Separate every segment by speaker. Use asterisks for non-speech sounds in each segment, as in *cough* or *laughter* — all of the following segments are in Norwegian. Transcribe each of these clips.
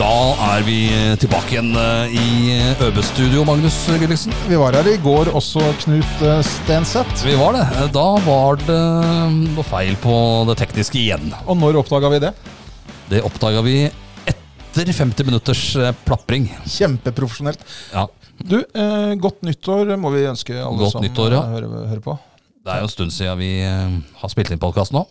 Speaker 1: Da er vi tilbake igjen eh, i Øbestudio, Magnus Gulliksen.
Speaker 2: Vi var her i går også, Knut eh, Stenseth.
Speaker 1: Vi var det. Eh, Da var det eh, noe feil på det tekniske igjen.
Speaker 2: Og når oppdaga vi det?
Speaker 1: Det oppdaga vi etter 50 minutters eh, plapring.
Speaker 2: Kjempeprofesjonelt.
Speaker 1: Ja,
Speaker 2: Du, eh, godt nyttår må vi ønske alle
Speaker 1: Godt
Speaker 2: som
Speaker 1: nyttår, ja.
Speaker 2: eh, hører, hører på.
Speaker 1: Det er jo en stund siden vi eh, har spilt inn podkast nå.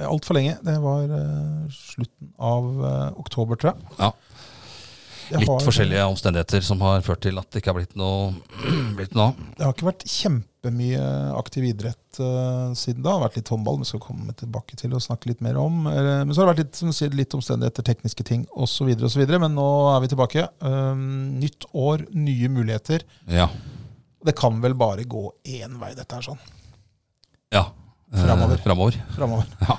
Speaker 2: Altfor Eh, lenge. Det var eh, slutten av eh, oktober, tror jeg.
Speaker 1: Ja,
Speaker 2: jeg.
Speaker 1: Litt
Speaker 2: har-
Speaker 1: forskjellige omstendigheter som har ført til at det ikke har blitt noe, *clears throat* blitt noe av.
Speaker 2: Det har ikke vært kjempemye aktiv idrett eh, siden da. Det har vært litt håndball, men skal komme tilbake til og snakke litt mer om. Eh, Men så har det vært litt, som du sier, litt omstendigheter, tekniske ting osv. osv. Men nå er vi tilbake. Eh, Nytt år, nye muligheter.
Speaker 1: Ja.
Speaker 2: Det kan vel bare gå én vei, dette her sånn.
Speaker 1: ja. Eh,
Speaker 2: Fremover.
Speaker 1: Fremover.
Speaker 2: Fremover.
Speaker 1: Ja.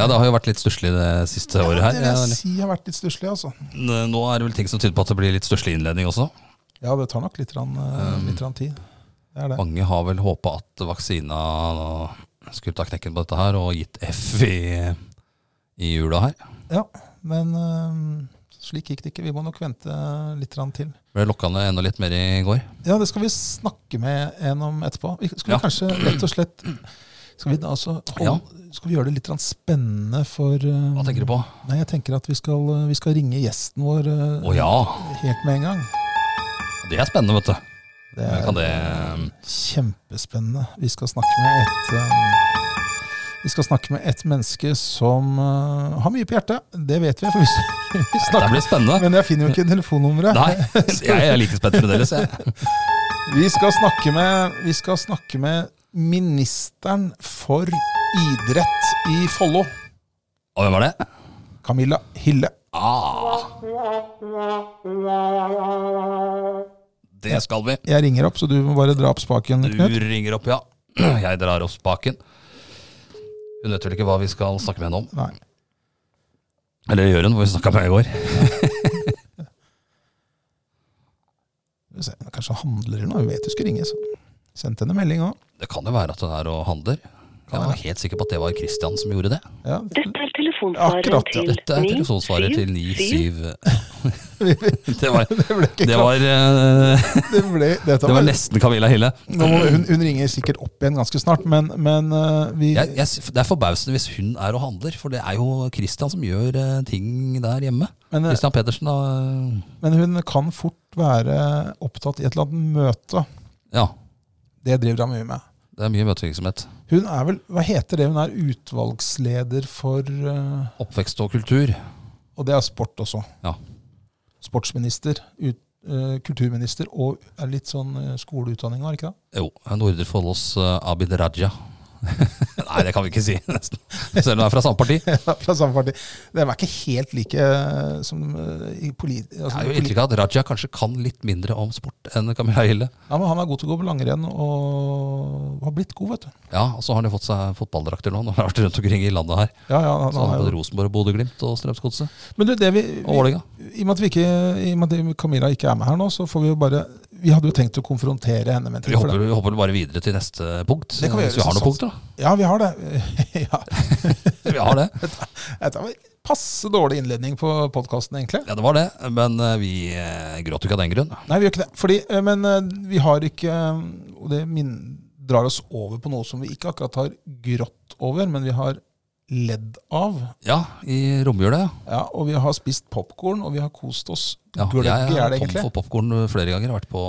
Speaker 1: ja, det har jo vært litt stusslig det siste året her.
Speaker 2: Det vil
Speaker 1: Eh,
Speaker 2: jeg si har vært litt stusslig, altså.
Speaker 1: N- Nå er det vel ting som tyder på at det blir litt stusslig innledning også.
Speaker 2: Ja, det tar nok litt, rann, eh,
Speaker 1: Um,
Speaker 2: litt rann tid. Det er det.
Speaker 1: Mange har vel håpa at vaksina nå skulle ta knekken på dette her og gitt F i, i jula her.
Speaker 2: Ja, men eh, slik gikk det ikke. Vi må nok vente eh, litt rann til.
Speaker 1: Ble lokka ned enda litt mer i går.
Speaker 2: Ja, det skal vi snakke med en om etterpå. Vi skal vi
Speaker 1: Ja.
Speaker 2: kanskje rett og slett Skal vi, da altså holde, skal vi gjøre det litt rann spennende for eh,
Speaker 1: Hva tenker du på?
Speaker 2: Nei, Jeg tenker at vi skal, eh, vi skal ringe gjesten vår eh,
Speaker 1: Å ja,
Speaker 2: helt med en gang.
Speaker 1: det er spennende, vet du.
Speaker 2: Det
Speaker 1: Men
Speaker 2: er
Speaker 1: Kan det
Speaker 2: kjempespennende. Vi skal snakke med et eh, vi skal snakke med et menneske som eh, har mye på hjertet. Det vet vi, *laughs* for vi, vi
Speaker 1: Det
Speaker 2: snakker
Speaker 1: blir spennende.
Speaker 2: Men jeg finner jo ikke telefonnummeret.
Speaker 1: Nei, jeg er like spent fremdeles, jeg.
Speaker 2: Vi skal snakke med, vi skal snakke med ministeren for idrett i Follo.
Speaker 1: Og hvem var det?
Speaker 2: Camilla Hille.
Speaker 1: Ah. Det skal vi.
Speaker 2: Jeg ringer opp, så du må bare dra opp spaken, Knut.
Speaker 1: Du ringer opp, ja. Jeg drar opp spaken. Hun vet vel ikke hva vi skal snakke med henne om.
Speaker 2: Nei.
Speaker 1: Eller gjør hun, hvor vi snakka med henne i går.
Speaker 2: Skal vi se, Kanskje han handler eller noe. Hun vet du skulle ringe. Så. Sendte henne melding òg.
Speaker 1: Det kan jo være at hun er og handler. Jeg var helt sikker på at det var Christian som gjorde det.
Speaker 2: Ja. *laughs*
Speaker 3: Dette er telefonsvaret
Speaker 2: Akkurat, ja.
Speaker 3: til
Speaker 1: Dette er
Speaker 3: 9,
Speaker 1: telefonsvaret til 97 Det var,
Speaker 2: Det ble ikke
Speaker 1: det
Speaker 2: klart.
Speaker 1: var, eh,
Speaker 2: Det ble,
Speaker 1: det
Speaker 2: dette
Speaker 1: var
Speaker 2: var-
Speaker 1: nesten Camilla Hille.
Speaker 2: Nå må, hun, hun ringer sikkert opp igjen ganske snart, men, men eh, vi
Speaker 1: Jeg, jeg, sy- det er forbausende hvis hun er og handler, for det er jo Christian som gjør eh, ting der hjemme.
Speaker 2: Men, eh,
Speaker 1: Christian Pedersen, da. eh,
Speaker 2: Men hun kan fort være opptatt i et eller annet møte.
Speaker 1: Ja.
Speaker 2: Det driver hun mye med.
Speaker 1: Det er mye møtevirksomhet.
Speaker 2: Hun er vel, hva heter det, hun er utvalgsleder for eh,
Speaker 1: Oppvekst og kultur.
Speaker 2: Og det er sport også.
Speaker 1: Ja.
Speaker 2: Sportsminister, ut, eh, kulturminister og er litt sånn eh, skoleutdanning, var det *laughs* ikke det?
Speaker 1: Jo, Nordre Follos eh, Abid Raja. *laughs* Nei, det kan vi ikke si, nesten. Selv om det er fra samme parti.
Speaker 2: Ja, Fra samme parti. De er ikke helt like eh, som eh, i polit...
Speaker 1: Jeg
Speaker 2: Altså,
Speaker 1: har jo
Speaker 2: polit
Speaker 1: inntrykk av at Raja kanskje kan litt mindre om sport enn Camilla Hille.
Speaker 2: ja, men han er god til å gå på langrenn og har blitt god, vet du.
Speaker 1: Ja, og så har han jo fått seg fotballdrakter nå. Når han har vært rundt omkring i landet her.
Speaker 2: Ja, ja, han,
Speaker 1: Så han har
Speaker 2: han er
Speaker 1: både
Speaker 2: jo.
Speaker 1: Rosenborg og Bodø-Glimt og Strømsgodset
Speaker 2: Men du, det vi,
Speaker 1: og Vålerenga.
Speaker 2: vi I og med at, vi ikke, i og med at Camilla ikke er med her nå, så får vi jo bare Vi hadde jo tenkt å konfrontere henne med en
Speaker 1: Vi
Speaker 2: ting. for det-
Speaker 1: hopper, vi hopper bare videre til neste punkt.
Speaker 2: Det kan vi
Speaker 1: hvis vi
Speaker 2: gjøre,
Speaker 1: har
Speaker 2: så
Speaker 1: noen
Speaker 2: *laughs*
Speaker 1: punkter,
Speaker 2: Ja, vi har det. ja.
Speaker 1: da. Vi har det.
Speaker 2: Dette var passe dårlig innledning på podkasten, egentlig.
Speaker 1: Ja, det var det. Men eh, vi eh, gråt jo ikke av den grunn.
Speaker 2: Nei, vi gjør ikke det. Fordi, eh, men eh, vi har ikke eh, Og det min, drar oss over på noe som vi ikke akkurat har grått over, men vi har ledd av.
Speaker 1: Ja, i romjula, ja.
Speaker 2: Ja, Og vi har spist popkorn, og vi har kost oss.
Speaker 1: Ja,
Speaker 2: Gløgg
Speaker 1: jeg
Speaker 2: er
Speaker 1: er
Speaker 2: det
Speaker 1: tom
Speaker 2: egentlig.
Speaker 1: for popkorn flere ganger. Jeg har vært på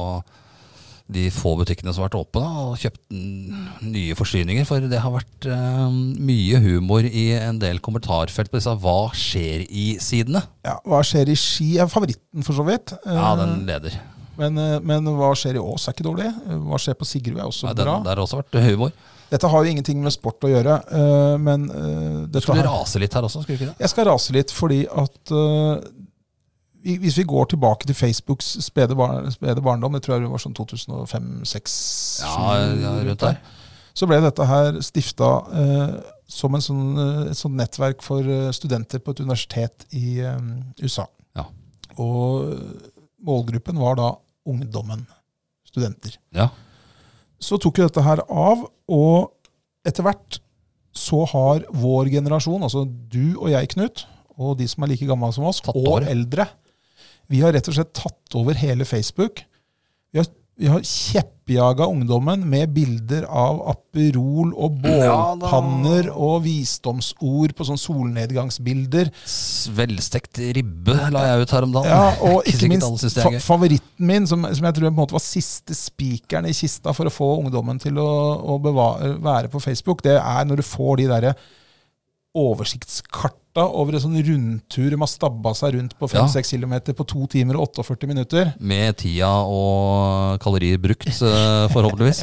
Speaker 1: de få butikkene som har vært åpne, og kjøpt n- nye forsyninger. For det har vært eh, mye humor i en del kommentarfelt på disse 'hva skjer i'-sidene.
Speaker 2: Ja, Hva skjer i Ski? er favoritten, for så vidt. Eh,
Speaker 1: Ja, den leder.
Speaker 2: men, eh, men hva skjer i Ås er ikke dårlig. Eh, Hva skjer på Sigrud er også
Speaker 1: Ja, den,
Speaker 2: bra.
Speaker 1: der har også vært humor.
Speaker 2: Dette har jo ingenting med sport å gjøre, eh, men eh, dette
Speaker 1: Skulle
Speaker 2: her-
Speaker 1: rase litt her også, skulle ikke det?
Speaker 2: Jeg skal rase litt fordi at øh, vi- hvis vi går tilbake til Facebooks spede, bar spede barndom, det tror jeg det var sånn 2005-2006
Speaker 1: Ja, ja, rundt der.
Speaker 2: Så ble dette her stifta øh, som en sånn, øh, et sånt nettverk for øh, studenter på et universitet i øh, USA.
Speaker 1: Ja.
Speaker 2: Og målgruppen var da ungdommen. Studenter.
Speaker 1: Ja.
Speaker 2: Så tok jo dette her av, og etter hvert så har vår generasjon, altså du og jeg, Knut, og de som er like gamle som oss,
Speaker 1: Tatt
Speaker 2: og
Speaker 1: over.
Speaker 2: eldre, Vi har rett og slett tatt over hele Facebook. Vi har, vi har kjeppjaga ungdommen med bilder av Aperol og
Speaker 1: Ja da.
Speaker 2: bålpanner og visdomsord på sånn solnedgangsbilder.
Speaker 1: S- Velstekt ribbe la jeg ut her om dagen.
Speaker 2: Ja, og
Speaker 1: Ikke
Speaker 2: ikke
Speaker 1: sikkert alle synes det
Speaker 2: minst fa
Speaker 1: er gøy.
Speaker 2: favoritten min, som, som jeg tror på en måte var siste spikeren i kista for å få ungdommen til å, å bevare, være på Facebook, det er når du får de derre oversiktskarta over en sånn rundtur man stabba seg rundt på
Speaker 1: Ja.
Speaker 2: 5-6 km på 2 timer og 48 minutter.
Speaker 1: Med tida og kalorier brukt, eh,
Speaker 2: *laughs*
Speaker 1: forhåpentligvis.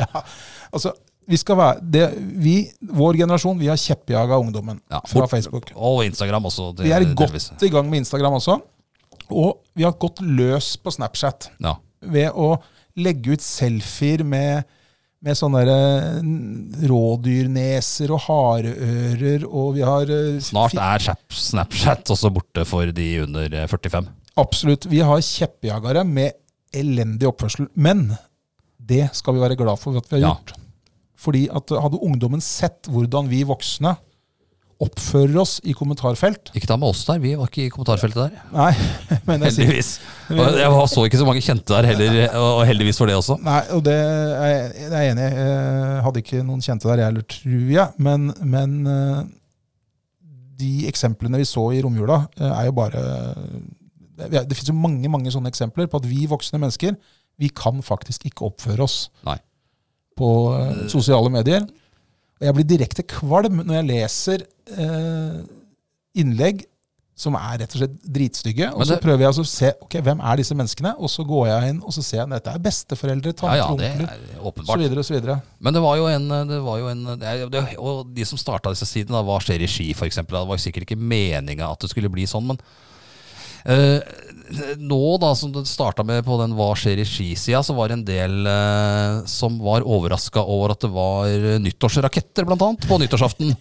Speaker 2: Altså, vi skal være, det, vi, vår generasjon vi har kjeppjaga ungdommen
Speaker 1: Ja,
Speaker 2: fra
Speaker 1: fort-
Speaker 2: Facebook.
Speaker 1: Og Instagram også. det-
Speaker 2: Vi er
Speaker 1: delvis.
Speaker 2: godt i gang med Instagram også. Og vi har gått løs på Snapchat.
Speaker 1: Ja.
Speaker 2: ved å legge ut selfier med, med sånne der, eh, n- rådyrneser og hareører, og vi har eh,
Speaker 1: Snart
Speaker 2: fi-
Speaker 1: er Chap- Snapchat også borte for de under eh, 45.
Speaker 2: Absolutt. Vi har kjeppjagere med elendig oppførsel. Men det skal vi være glad for at vi har
Speaker 1: Ja.
Speaker 2: gjort. Fordi at hadde ungdommen sett hvordan vi voksne oppfører oss i kommentarfelt
Speaker 1: Ikke ta med oss der, vi var ikke i kommentarfeltet der.
Speaker 2: Nei, *laughs* men jeg sier *laughs*
Speaker 1: Heldigvis. Og jeg var- så ikke så mange kjente der heller, og heldigvis for det også.
Speaker 2: Nei, og det er jeg det er jeg enig i. Jeg hadde ikke noen kjente der, jeg heller, tror jeg. Men, men eh, de eksemplene vi så i romjula, eh, er jo bare Det det finnes jo mange mange sånne eksempler på at vi voksne mennesker vi kan faktisk ikke oppføre oss
Speaker 1: Nei.
Speaker 2: på eh, sosiale medier. Og jeg blir direkte kvalm når jeg leser eh, innlegg som er rett og slett dritstygge. Og
Speaker 1: Men
Speaker 2: så
Speaker 1: det-
Speaker 2: prøver jeg altså å se ok, hvem er disse menneskene, og så går jeg inn og så ser jeg at dette er besteforeldre,
Speaker 1: Ja,
Speaker 2: tanter,
Speaker 1: ja, det
Speaker 2: onkler
Speaker 1: er
Speaker 2: og så
Speaker 1: åpenbart.
Speaker 2: videre og så videre.
Speaker 1: Men det var jo en, eh, det var jo en det, det, Og de som starta disse sidene, da, hva skjer i ski f.eks.? Det var jo sikkert ikke meninga at det skulle bli sånn, men eh, nå, da, som det starta med på den hva skjer i skisida, så var det en del eh, som var overraska over at det var nyttårsraketter, blant annet, på nyttårsaften.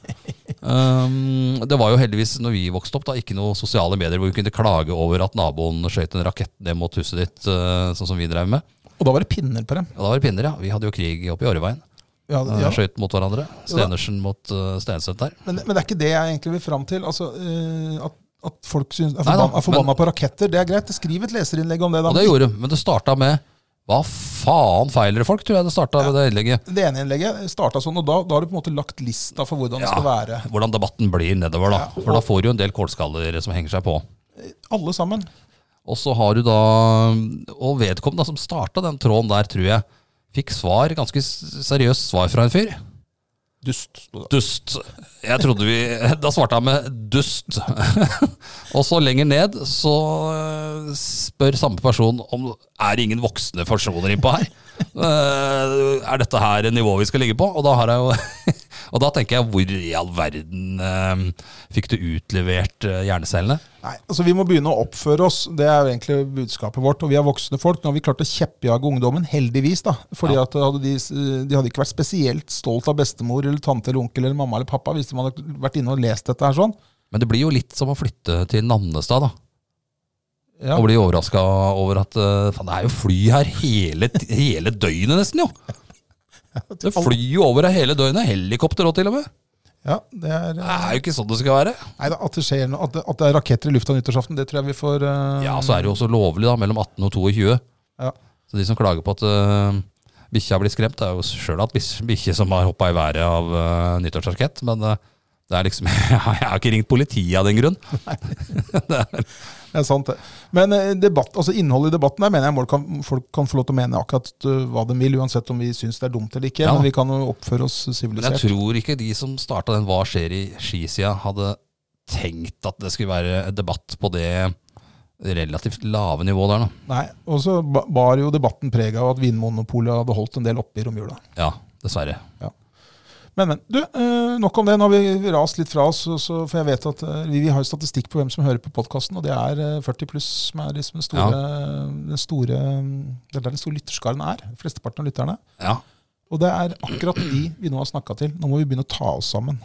Speaker 1: Um, det var jo heldigvis, når vi vokste opp, da ikke noe sosiale medier hvor vi kunne klage over at naboen skjøt en rakett ned mot huset ditt, eh, sånn som vi drev med.
Speaker 2: Og da var det pinner på dem.
Speaker 1: Ja, da var det pinner, ja. Vi hadde jo krig oppe i Årveien.
Speaker 2: Ja,
Speaker 1: Eh,
Speaker 2: ja.
Speaker 1: Skøyt mot hverandre.
Speaker 2: Jo da.
Speaker 1: Stenersen mot uh, Stenseth der.
Speaker 2: Men, men det er ikke det jeg egentlig vil fram til. Altså, eh, at, at folk synes,
Speaker 1: Nei
Speaker 2: er,
Speaker 1: da,
Speaker 2: forbanna, er forbanna på raketter, det er greit. Skriv et leserinnlegg om det. da.
Speaker 1: Og det gjorde de, men det starta med Hva faen feiler det folk, tror jeg det starta med det innlegget.
Speaker 2: Det ene innlegget starta sånn, og da, da har du på en måte lagt lista for hvordan det skal være.
Speaker 1: Hvordan debatten blir nedover, da.
Speaker 2: Ja, og-
Speaker 1: For da får du jo en del kålskaller som henger seg på.
Speaker 2: Alle sammen.
Speaker 1: Og så har du da Og vedkommende som starta den tråden der, tror jeg, fikk svar, ganske s- seriøst svar fra en fyr.
Speaker 2: Dust. sto det.
Speaker 1: Dust. Jeg trodde vi *laughs* Da svarte han med dust. *laughs* og så lenger ned så eh, spør samme person om er det ingen voksne personer innpå her. Eh, Er dette her nivået vi skal ligge på? Og da har jeg jo *laughs* Og da tenker jeg hvor i all verden eh, fikk du utlevert eh, hjernecellene?
Speaker 2: Nei, altså Vi må begynne å oppføre oss. Det er jo egentlig budskapet vårt. Og vi er voksne folk. Nå har vi klart å kjeppjage ungdommen, heldigvis. da. Fordi
Speaker 1: Ja.
Speaker 2: at hadde de, s- de hadde ikke vært spesielt stolt av bestemor eller tante eller onkel eller mamma eller pappa hvis de hadde vært inne og lest dette her sånn.
Speaker 1: Men det blir jo litt som å flytte til Nannestad, da.
Speaker 2: Ja.
Speaker 1: Og bli overraska over at eh, faen, det er jo fly her hele, t- hele døgnet, nesten, jo. Det flyr jo over her hele døgnet. Helikopter òg, til og med.
Speaker 2: Ja, det er... eh,
Speaker 1: Det er jo ikke sånn det skal være.
Speaker 2: Nei, da, at det skjer noe, at det, at det er raketter i lufta nyttårsaften, det tror jeg vi får eh,
Speaker 1: Ja, altså. Så er det jo også lovlig, da, mellom 18 og 22.
Speaker 2: Ja.
Speaker 1: Så de som klager på at uh, bikkja blir skremt, det er jo sjøl at bis- bikkje som har hoppa i været av uh, nyttårsrakett. Men eh, det er liksom *laughs* Jeg har ikke ringt politiet av den grunn.
Speaker 2: Det er sant, det. Men eh, debatt, altså innholdet i debatten der mener jeg folk kan, folk kan få lov til å mene akkurat eh, hva de vil, uansett om vi syns det er dumt eller ikke.
Speaker 1: Ja.
Speaker 2: Men vi kan jo oppføre oss
Speaker 1: Men jeg
Speaker 2: sivilisert.
Speaker 1: tror ikke de som starta den Hva skjer i skisida, hadde tenkt at det skulle være debatt på det relativt lave nivået der, da.
Speaker 2: Nei, Og så ba- bar jo debatten preg av at Vinmonopolet hadde holdt en del oppe i romjula.
Speaker 1: Ja, dessverre.
Speaker 2: Men, men. Du, eh, nok om det. Nå har vi rast litt fra oss. og så- for jeg vet at eh, vi, vi har jo statistikk på hvem som hører på podkasten, og det er eh, 40 pluss som er liksom den store, den store Det er der den store lytterskaren er. Flesteparten av lytterne.
Speaker 1: Ja.
Speaker 2: Og det er akkurat de vi nå har snakka til. Nå må vi begynne å ta oss sammen.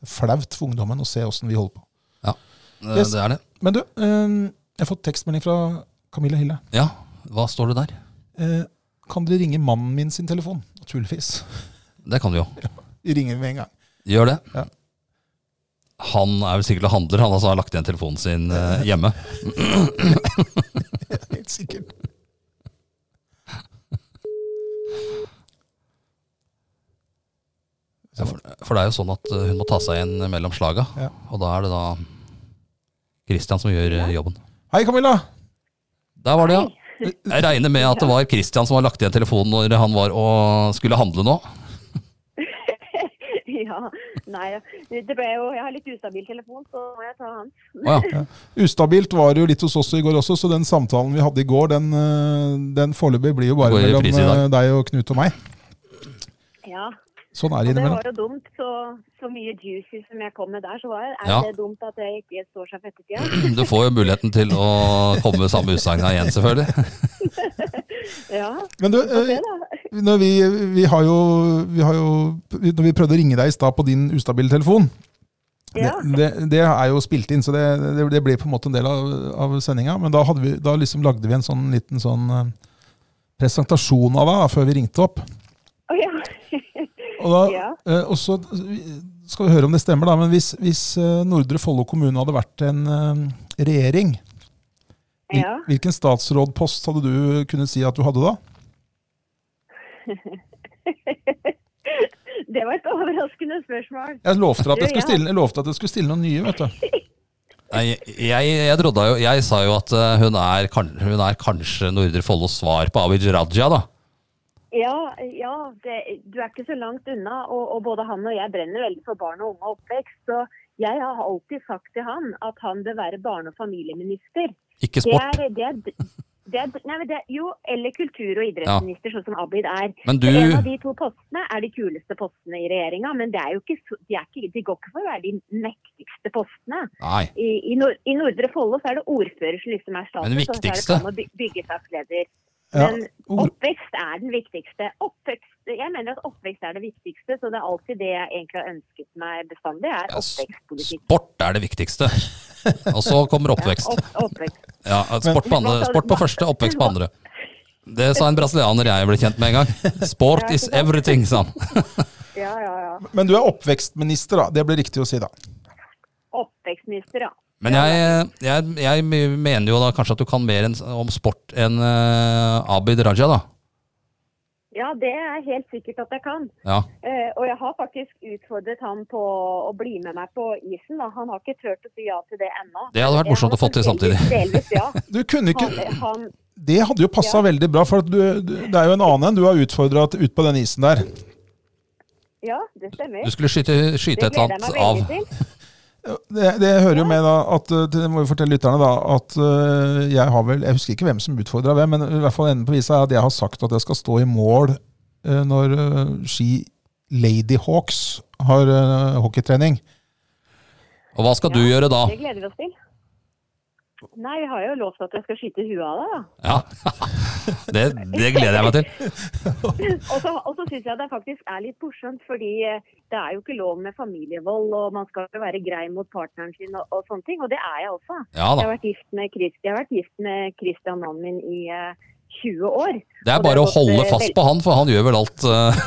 Speaker 2: Det er flaut for ungdommen å se åssen vi holder på.
Speaker 1: Det,
Speaker 2: Yes.
Speaker 1: det er det.
Speaker 2: Men du, eh, jeg har fått tekstmelding fra Camilla Hille.
Speaker 1: Ja, hva står det der?
Speaker 2: Eh, kan dere ringe mannen min sin telefon? Naturligvis.
Speaker 1: Det kan du jo.
Speaker 2: Vi ringer med en gang.
Speaker 1: Gjør det.
Speaker 2: Ja.
Speaker 1: Han er vel sikkert og handler, han altså har lagt igjen telefonen sin eh, hjemme.
Speaker 2: Helt sikkert.
Speaker 1: Ja, for, for det er jo sånn at eh, hun må ta seg igjen mellom slaga,
Speaker 2: Ja.
Speaker 1: og da er det da Christian som gjør eh, jobben.
Speaker 2: Hei, Camilla!
Speaker 1: Der var det, ja. Jeg regner med at det var Christian som har lagt igjen telefonen når han var og skulle handle nå.
Speaker 3: *laughs* ja. Nei, det ble jo Jeg har litt ustabil telefon, så må jeg ta han.
Speaker 1: Å ja.
Speaker 2: Ustabilt var det jo litt hos oss i går også, så den samtalen vi hadde i går, den, eh, den foreløpig blir jo bare
Speaker 1: Går i
Speaker 2: mellom
Speaker 1: reprise i
Speaker 2: eh,
Speaker 1: dag.
Speaker 2: deg og Knut og meg.
Speaker 3: Ja.
Speaker 2: Sånn er det
Speaker 3: Det
Speaker 2: innimellom.
Speaker 3: var jo dumt. Så, så mye juicy som jeg kom med der, så var jeg, er
Speaker 1: Ja.
Speaker 3: det dumt at jeg ikke står seg for ettertida?
Speaker 1: *clears throat* Du får jo muligheten til å komme med samme utsagn igjen, selvfølgelig.
Speaker 3: Ja.
Speaker 2: Men du,
Speaker 3: Så
Speaker 2: eh,
Speaker 3: det, da.
Speaker 2: når vi, vi, har jo, vi har jo Når vi prøvde å ringe deg i stad på din ustabile telefon,
Speaker 3: Ja.
Speaker 2: Det, det, det er jo spilt inn, så det, det, det ble på en måte en del av, av sendinga. Men da, hadde vi, da liksom lagde vi en sånn liten sånn eh, presentasjon av deg da, før vi ringte opp.
Speaker 3: Å, ja. *laughs*
Speaker 2: Og, da,
Speaker 3: Ja.
Speaker 2: eh, og så skal vi høre om det stemmer, da. Men hvis, hvis eh, Nordre Follo kommune hadde vært en eh, regjering, hvil-
Speaker 3: ja.
Speaker 2: hvilken statsrådpost hadde du kunnet si at du hadde da?
Speaker 3: *laughs* Det var et overraskende spørsmål.
Speaker 2: Jeg lovte at jeg
Speaker 3: Du,
Speaker 2: skulle
Speaker 3: ja.
Speaker 2: stille, jeg lovte at jeg skulle stille noen nye, vet du.
Speaker 1: Nei, Jeg, jeg, trodde jo, jeg sa jo at eh, hun er, kan- hun er kanskje Nordre Follos svar på Abid Raja, da.
Speaker 3: Ja, ja det, du er ikke så langt unna. Og, og både han og jeg brenner veldig for barn og unge og oppvekst. Så jeg har alltid sagt til han at han bør være barne- og familieminister.
Speaker 1: Ikke
Speaker 3: Det
Speaker 1: sport.
Speaker 3: er, det er, det er, nei, men det er, jo, eller kultur- og idrettsminister, sånn som Abid er.
Speaker 1: Men du
Speaker 3: En av de to postene er de kuleste postene i regjeringa, men det er jo ikke, så- de, er ikke, de går ikke for å være de mektigste postene.
Speaker 1: Nei.
Speaker 3: I, i, nor I Nordre Follo så er det ordfører som liksom er status,
Speaker 1: Men det
Speaker 3: og så er det
Speaker 1: viktigste.
Speaker 3: han og by- byggesaksleder.
Speaker 2: Ja,
Speaker 3: Men
Speaker 2: ord-
Speaker 3: oppvekst er den viktigste. Oppvekst, jeg mener at oppvekst er det viktigste, så det er alltid det jeg egentlig har ønsket meg bestandig, er
Speaker 1: Ja, s-
Speaker 3: oppvekstpolitikk.
Speaker 1: Sport er det viktigste. Og så kommer oppvekst.
Speaker 3: Opp, oppvekst.
Speaker 1: Ja, sport, på andre, sport på første, oppvekst på andre. Det sa en brasilianer jeg ble kjent med en gang. Sport is everything, sa han.
Speaker 3: Ja, ja, ja.
Speaker 2: Men du er oppvekstminister, da. Det ble riktig å si, da.
Speaker 3: Oppvekstminister, ja.
Speaker 1: Men jeg, jeg, jeg mener jo da kanskje at du kan mer enn- om sport enn eh, Abid Raja, da.
Speaker 3: Ja, det er helt sikkert at jeg kan.
Speaker 1: Ja.
Speaker 3: Eh, og jeg har faktisk utfordret han på å bli med meg på isen. Da. Han har ikke turt å si ja til det ennå.
Speaker 1: Det hadde vært morsomt å få til samtidig.
Speaker 3: Delvis, ja.
Speaker 2: Du kunne *laughs* ikke
Speaker 3: Han, han,
Speaker 2: Det hadde jo passa
Speaker 3: Ja.
Speaker 2: veldig bra, for at du, du, det er jo en annen enn du har utfordra ut på den isen der.
Speaker 3: ja, det stemmer.
Speaker 1: Du skulle skyte, skyte et eller annet av.
Speaker 3: til.
Speaker 2: Det, det hører jo med da, at, eh, det må vi fortelle lytterne da, at eh, jeg har vel, jeg husker ikke hvem som utfordra hvem, men i hvert fall enden på visa er at jeg har sagt at jeg skal stå i mål eh, når eh, Ski Lady Hawks har eh, hockeytrening.
Speaker 1: Og hva skal du gjøre da?
Speaker 3: Det gleder vi oss til. Nei, vi har jo lovt at jeg skal skyte huet av deg, da.
Speaker 1: Ja. Det, det gleder jeg meg til.
Speaker 3: *laughs* Og så, og så syns jeg det faktisk er litt morsomt, fordi eh, det er jo ikke lov med familievold, og man skal jo være grei mot partneren sin og, og sånne ting, og det er jeg også.
Speaker 1: Ja
Speaker 3: Jeg
Speaker 1: da.
Speaker 3: har vært gift med, Chris, jeg har vært gift med Christian, mannen min, i eh, 20 år.
Speaker 1: Det er bare å holde fast på han, for han gjør vel alt eh,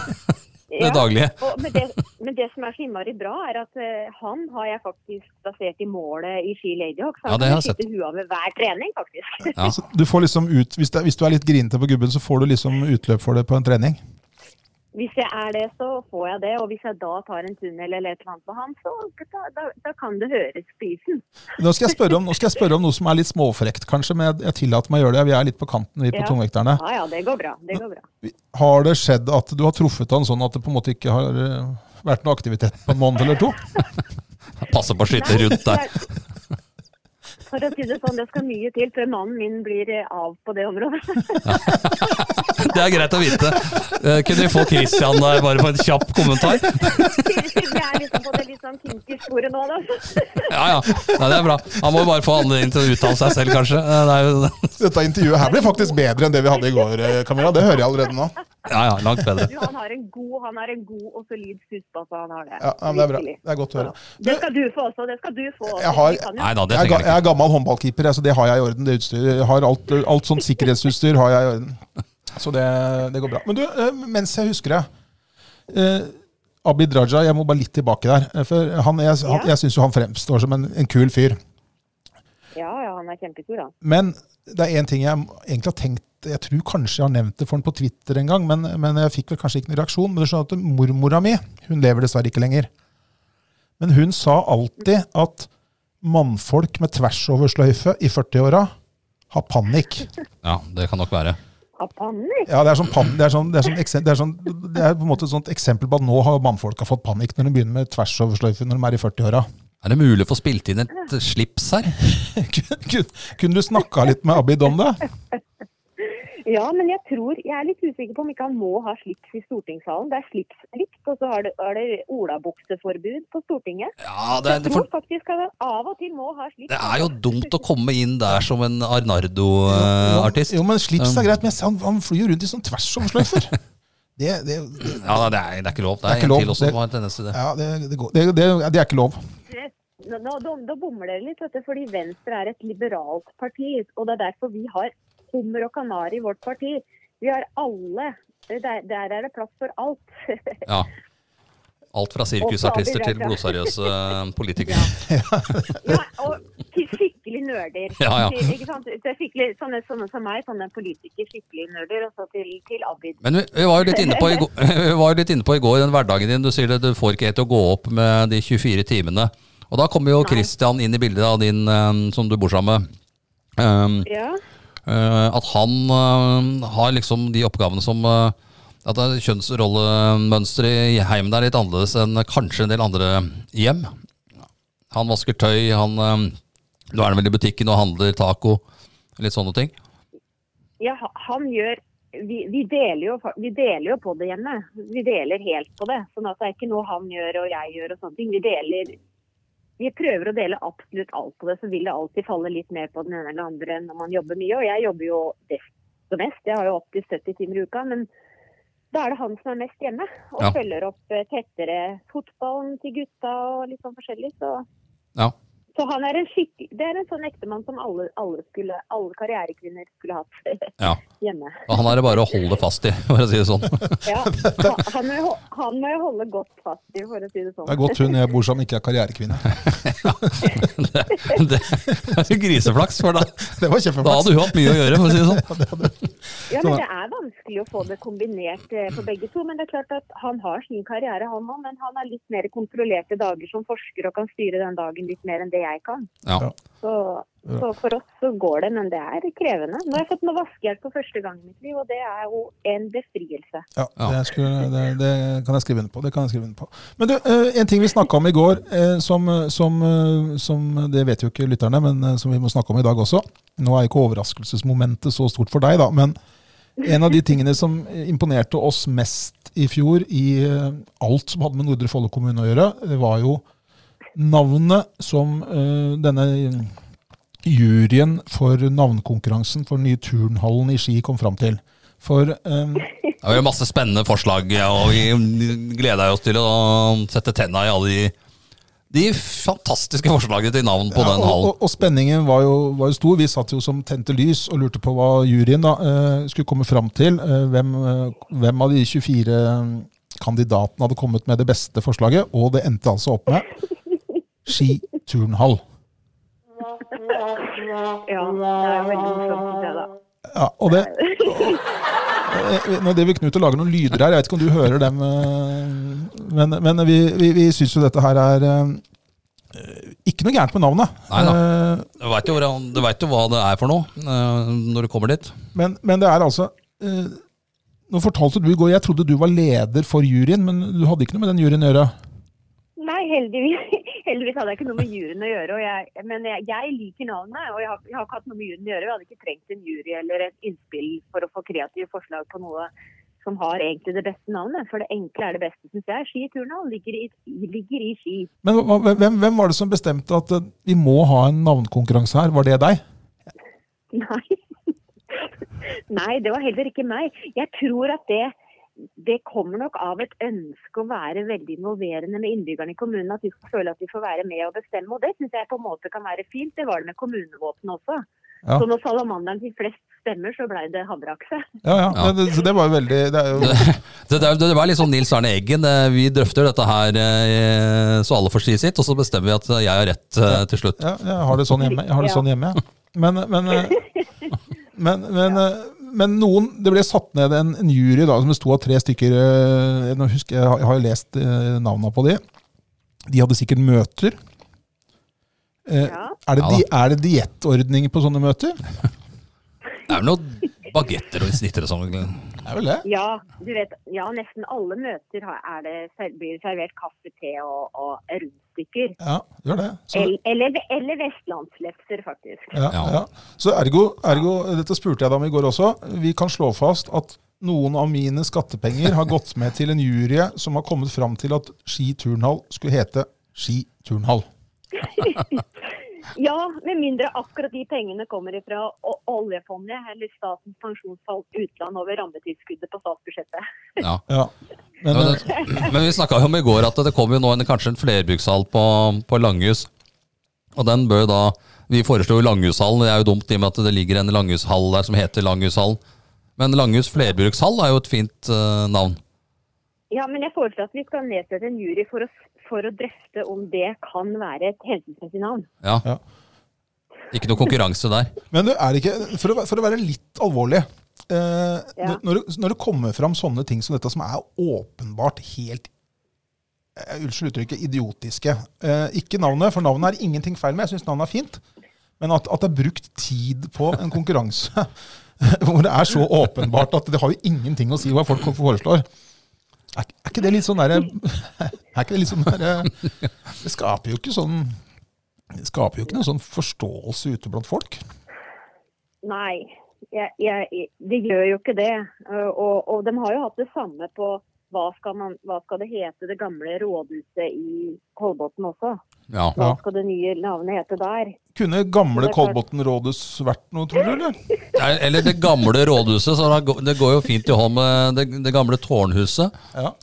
Speaker 1: det daglige.
Speaker 3: Og, men, det, men det som er så innmari bra, er at eh, han har jeg faktisk plassert i målet i Ski Ladyhawk. Så
Speaker 1: Ja,
Speaker 3: han
Speaker 1: det har
Speaker 3: kan
Speaker 1: jeg sett.
Speaker 3: skyte huet av ved hver trening, faktisk.
Speaker 1: Ja.
Speaker 2: Så Du får liksom ut, hvis, det, hvis du er litt grinete på gubben, så får du liksom utløp for det på en trening.
Speaker 3: Hvis jeg er det, så får jeg det. Og hvis jeg da tar en tunnel eller et eller annet på han, så da, da, da kan det høres på isen.
Speaker 2: Nå skal, jeg spørre om, nå skal jeg spørre om noe som er litt småfrekt, kanskje, men jeg, jeg tillater meg å gjøre det. Vi er litt på kanten, vi på
Speaker 3: Ja.
Speaker 2: tungvekterne.
Speaker 3: Ja ja, det går bra. Det går bra.
Speaker 2: Har det skjedd at du har truffet han sånn at det på en måte ikke har eh, vært noe aktivitet på en måned eller to?
Speaker 1: Passe på å skyte rundt der.
Speaker 3: Nei, For å si det sånn, det skal mye til før mannen min blir eh, av på det området. *laughs*
Speaker 1: Det er greit å vite. Eh, Kunne vi få Christian der bare på en kjapp kommentar?
Speaker 3: Vi er liksom på det litt sånn kinky sporet nå, da. *laughs*
Speaker 1: Ja ja, Nei, det er bra. Han må jo bare få anledning til å uttale seg selv, kanskje. Eh, Det er jo,
Speaker 2: Dette intervjuet her blir faktisk bedre enn det vi hadde i går, eh, Camilla. Det hører jeg allerede nå.
Speaker 1: ja ja, langt bedre.
Speaker 3: Du, han har en god, han har en god og solid fussbasse, han har det.
Speaker 2: Ja, ja, men det er bra.
Speaker 3: Virkelig.
Speaker 2: Det er godt å høre. Du,
Speaker 3: Det skal du få også, det skal du få også.
Speaker 2: Jeg har-
Speaker 3: Vi kan jo-
Speaker 1: Nei da, det
Speaker 2: jeg, er ga,
Speaker 1: trenger
Speaker 2: jeg
Speaker 1: jeg ikke.
Speaker 2: er gammel håndballkeeper, jeg, så det har jeg i orden. Det utstyret. Jeg har alt, alt sånn sikkerhetsutstyr har jeg i orden. Så det, det går bra. Men du, eh, mens jeg husker det eh, Abid Raja, jeg må bare litt tilbake der. eh, For han, jeg han-
Speaker 3: Ja.
Speaker 2: jeg syns jo han fremstår som en, en kul fyr.
Speaker 3: Ja, ja, han er kjempekul, han.
Speaker 2: Men det er én ting jeg egentlig har tenkt Jeg tror kanskje jeg har nevnt det for han på Twitter en gang, men, men jeg fikk vel kanskje ikke noen reaksjon. Men du skjønner at mormora mi hun lever dessverre ikke lenger. Men hun sa alltid at mannfolk med tvers over sløyfe i 40-åra har panikk.
Speaker 1: Ja, det kan nok være.
Speaker 3: Har panikk?
Speaker 2: Ja, det er, sånn pan, det, er sånn, det, er sånn, ekse- det, er sånn, det er på en måte et sånt eksempel på at nå har mannfolka fått panikk når de begynner med tvers over sløyfe når de er i 40-åra.
Speaker 1: Er det mulig å få spilt inn et eh, slips her?
Speaker 2: *laughs* Kun- kun- Kunne du snakka litt med Abid om det?
Speaker 3: Ja, men jeg tror Jeg er litt usikker på om ikke han må ha slips i stortingssalen. Det er slipsplikt, og så har det, er det olabukseforbud på Stortinget.
Speaker 1: Ja, det
Speaker 3: Jeg
Speaker 1: er, det,
Speaker 3: tror
Speaker 1: for,
Speaker 3: faktisk at han av og til må ha slips.
Speaker 1: det er jo dumt å komme inn der som en Arnardo-artist.
Speaker 2: Jo, men slips er greit, men jeg ser han, han flyr rundt i sånn tvers over sløyfer. Det, det, det,
Speaker 1: Ja, det er, det er ikke lov. Det
Speaker 2: Det er
Speaker 1: er,
Speaker 2: ikke
Speaker 1: en
Speaker 2: lov.
Speaker 1: til også
Speaker 2: Det-
Speaker 1: som har en tendens til det.
Speaker 2: ja, det, det, går- det, det, det er ikke lov.
Speaker 3: Nå, nå, da, da bommer dere litt, vet du, fordi Venstre er et liberalt parti. Og det er derfor vi har hummer og kanari i vårt parti. Vi har alle. Der, der er det plass for alt. *laughs*
Speaker 1: Ja. Alt fra sirkusartister til blodseriøse eh, politikere.
Speaker 3: Ja, og til skikkelig nerder.
Speaker 1: Ja, ja.
Speaker 3: Til, ikke sant? til skikkelig, sånne, sånne som meg, sånne politikere, skikkelig nerder. Og så til, til Abid.
Speaker 1: Men vi, vi var jo litt inne på i, går- *laughs* vi var jo litt inne på i går den hverdagen din. Du sier at du får ikke helt til å gå opp med de 24 timene. Og da kommer jo Christian inn i bildet av din eh, som du bor sammen med. Um,
Speaker 3: Ja.
Speaker 1: Eh, at han eh, har liksom de oppgavene som eh, At det er kjønnsrollemønsteret i heimen er litt annerledes enn kanskje en del andre hjem. Han vasker tøy, han eh, Nå er han vel i butikken og handler taco. Litt sånne ting.
Speaker 3: ja, ha- han gjør vi, vi, deler jo, fa- vi deler jo på det hjemme. Vi deler helt på det. Sånn at det er ikke noe han gjør og jeg gjør og sånne ting. Vi deler vi prøver å dele absolutt alt på det, så vil det alltid falle litt mer på den ene eller andre når man jobber mye. Og jeg jobber jo desto mest. Jeg har jo opptil 70 timer i uka. Men da er det han som er mest hjemme. Og
Speaker 1: Ja.
Speaker 3: følger opp eh, tettere fotballen til gutta og litt sånn forskjellig. Så,
Speaker 1: Ja.
Speaker 3: så han er en skikk- det er en sånn ektemann som alle, alle, skulle, alle karrierekvinner skulle hatt
Speaker 1: Ja.
Speaker 2: *laughs*
Speaker 3: hjemme.
Speaker 1: Og han er det bare å holde fast i, *laughs* for å si det sånn.
Speaker 3: Ja, han, han må, jo ho- han må jo holde godt fast i, for å si det sånn.
Speaker 2: Det er godt hun jeg bor sammen ikke er karrierekvinne.
Speaker 1: Det, *laughs* det er jo griseflaks, for da,
Speaker 2: Det var
Speaker 1: da
Speaker 2: kjempeflaks.
Speaker 1: hadde hun hatt mye å gjøre, for å si det sånn.
Speaker 3: Ja, men Det er vanskelig å få det kombinert eh, for begge to. Men det er klart at han har sin karriere, han òg. Men han har litt mer kontrollerte dager som forsker og kan styre den dagen litt mer enn det jeg kan.
Speaker 1: Ja.
Speaker 3: Så, så for oss så går det, men det er krevende. Nå har jeg fått med vaskehjelp for første gang i mitt liv, og det er jo en befrielse.
Speaker 2: Ja, det, skulle, det, det kan jeg skrive under på. Det kan jeg skrive under på. Men du, eh, en ting vi snakka om i går, eh, som, som, eh, som Det vet jo ikke lytterne, men eh, som vi må snakke om i dag også. Nå er jo ikke overraskelsesmomentet så stort for deg, da. Men en av de tingene som imponerte oss mest i fjor, i eh, alt som hadde med Nordre Follo kommune å gjøre, eh, var jo navnet som eh, denne juryen for navnkonkurransen for den nye turnhallen i Ski kom fram til. For eh,
Speaker 1: Det var jo masse spennende forslag, ja, og vi gleder oss til å sette tenna i alle de, de fantastiske forslagene til navn på den
Speaker 2: Ja, og,
Speaker 1: hallen.
Speaker 2: og, og spenningen var jo, var jo stor. Vi satt jo som tente lys og lurte på hva juryen da, eh, skulle komme fram til. Eh, hvem, eh, hvem av de 24 kandidatene hadde kommet med det beste forslaget, og det endte altså opp med Ski turnhall.
Speaker 3: Ja, det er veldig morsomt, synes jeg, da.
Speaker 2: Ja, og det, Eh, nå driver Knut og lager noen lyder her, jeg vet ikke om du hører dem. eh, Men, men vi, vi, vi syns jo dette her er eh, ikke noe gærent med navnet.
Speaker 1: Nei da.
Speaker 2: Eh,
Speaker 1: Du veit jo, hvordan- du vet jo hva det er for noe eh, når du kommer dit.
Speaker 2: Men, men det er altså eh, Nå fortalte du i går Jeg trodde du var leder for juryen, men du hadde ikke noe med den juryen å gjøre.
Speaker 3: Nei, heldigvis, *laughs* heldigvis hadde jeg ikke noe med juryen å gjøre. Og jeg, men jeg, jeg liker navnet, og jeg har, jeg har ikke hatt noe med juryen å gjøre. Vi hadde ikke trengt en jury eller et innspill for å få kreative forslag på noe som har egentlig det beste navnet. For det enkle er det beste, syns jeg. Skiturnhall ligger, i- ligger i Ski.
Speaker 2: Men hva- hva- hvem, hvem var det som bestemte at eh, vi må ha en navnekonkurranse her? Var det deg?
Speaker 3: Nei. *laughs* Nei, det var heller ikke meg. Jeg tror at det, det kommer nok av et ønske å være veldig involverende med innbyggerne i kommunen. At de skal føle at de får være med og bestemme. Og det syns jeg på en måte kan være fint. Det var det med kommunevåpenet også.
Speaker 2: Ja.
Speaker 3: Så når salamanderen fikk flest stemmer, så blei det havreakse. *laughs*
Speaker 2: Ja, ja.
Speaker 1: Ja.
Speaker 2: Det, så det var jo veldig det er jo,
Speaker 1: Det, det, det var litt sånn Nils Arne Eggen. eh, Vi drøfter dette her eh, så alle får si sitt, og så bestemmer vi at jeg har rett eh, til slutt.
Speaker 2: ja, Jeg har det sånn hjemme. Jeg har det sånn hjemme jeg. Men,
Speaker 3: *laughs*
Speaker 2: men, eh, men, men, eh, men noen Det ble satt ned en, en jury da, som besto av tre stykker eh, Nå husker jeg, jeg har jo lest eh, navnene på de. De hadde sikkert møter. Eh,
Speaker 3: Ja.
Speaker 2: Er det,
Speaker 1: Ja
Speaker 2: di- er det diettordninger på sånne møter?
Speaker 1: Det er vel noen bagetter og snitter og sånn.
Speaker 2: Det er vel det.
Speaker 3: Ja, du vet, ja, nesten alle møter har, er det, ser- blir servert kaffe, te og, og rundstykker.
Speaker 2: Ja, gjør det. Så,
Speaker 3: Eller, eller, eller vestlandslepser, faktisk.
Speaker 2: ja,
Speaker 1: Ja.
Speaker 2: ja. så ergo, ergo, dette spurte jeg deg om i går også, vi kan slå fast at noen av mine skattepenger har gått med til en jury som har kommet fram til at Ski turnhall skulle hete Ski turnhall.
Speaker 3: Ja, med mindre akkurat de pengene kommer ifra o- oljefondet eller Statens pensjonsfond utland over rammetilskuddet på statsbudsjettet.
Speaker 1: Ja.
Speaker 2: Ja. Men, eh,
Speaker 1: Ja, Men, det, men vi snakka jo om i går at det kommer jo nå en, kanskje en flerbrukshall på, på Langhus. Og den bør jo da Vi foreslo jo Langhushallen. Det er jo dumt i og med at det ligger en langhushall der som heter Langhushallen. Men Langhus flerbrukshall er jo et fint eh, navn.
Speaker 3: Ja, men jeg foreslår at vi skal nedsette en jury for å, for å drøfte om det kan være et hensynsmessig navn.
Speaker 1: Ja.
Speaker 2: Ja.
Speaker 1: Ikke noe konkurranse der.
Speaker 2: men du, er det ikke, for å, være- for å være litt alvorlig eh,
Speaker 3: Ja.
Speaker 2: du- når, du- når det kommer fram sånne ting som dette, som er åpenbart helt eh, Unnskyld uttrykket, idiotiske. Eh, ikke navnet, for navnet er ingenting feil med. Jeg syns navnet er fint. Men at, at det er brukt tid på en konkurranse *laughs* hvor det er så åpenbart at det har jo ingenting å si hva folk foreslår. Er, ikke- er ikke det litt sånn derre Er ikke det litt sånn derre Det skaper jo ikke sånn Det skaper jo ikke noen sånn forståelse ute blant folk.
Speaker 3: Nei, jeg, jeg, de gjør jo ikke det. Uh, Og, og de har jo hatt det samme på hva skal, man, hva skal det hete det gamle rådhuset i Kolbotn også?
Speaker 1: Ja.
Speaker 3: Hva
Speaker 2: Ja.
Speaker 3: skal det nye navnet hete der?
Speaker 2: Kunne gamle
Speaker 3: Det er klart.
Speaker 2: Kolbotn rådhus vært noe, tror du? eller?
Speaker 1: Er- Eller det gamle rådhuset. Så da går- det går jo fint i hånd med det, det gamle tårnhuset.
Speaker 2: Ja.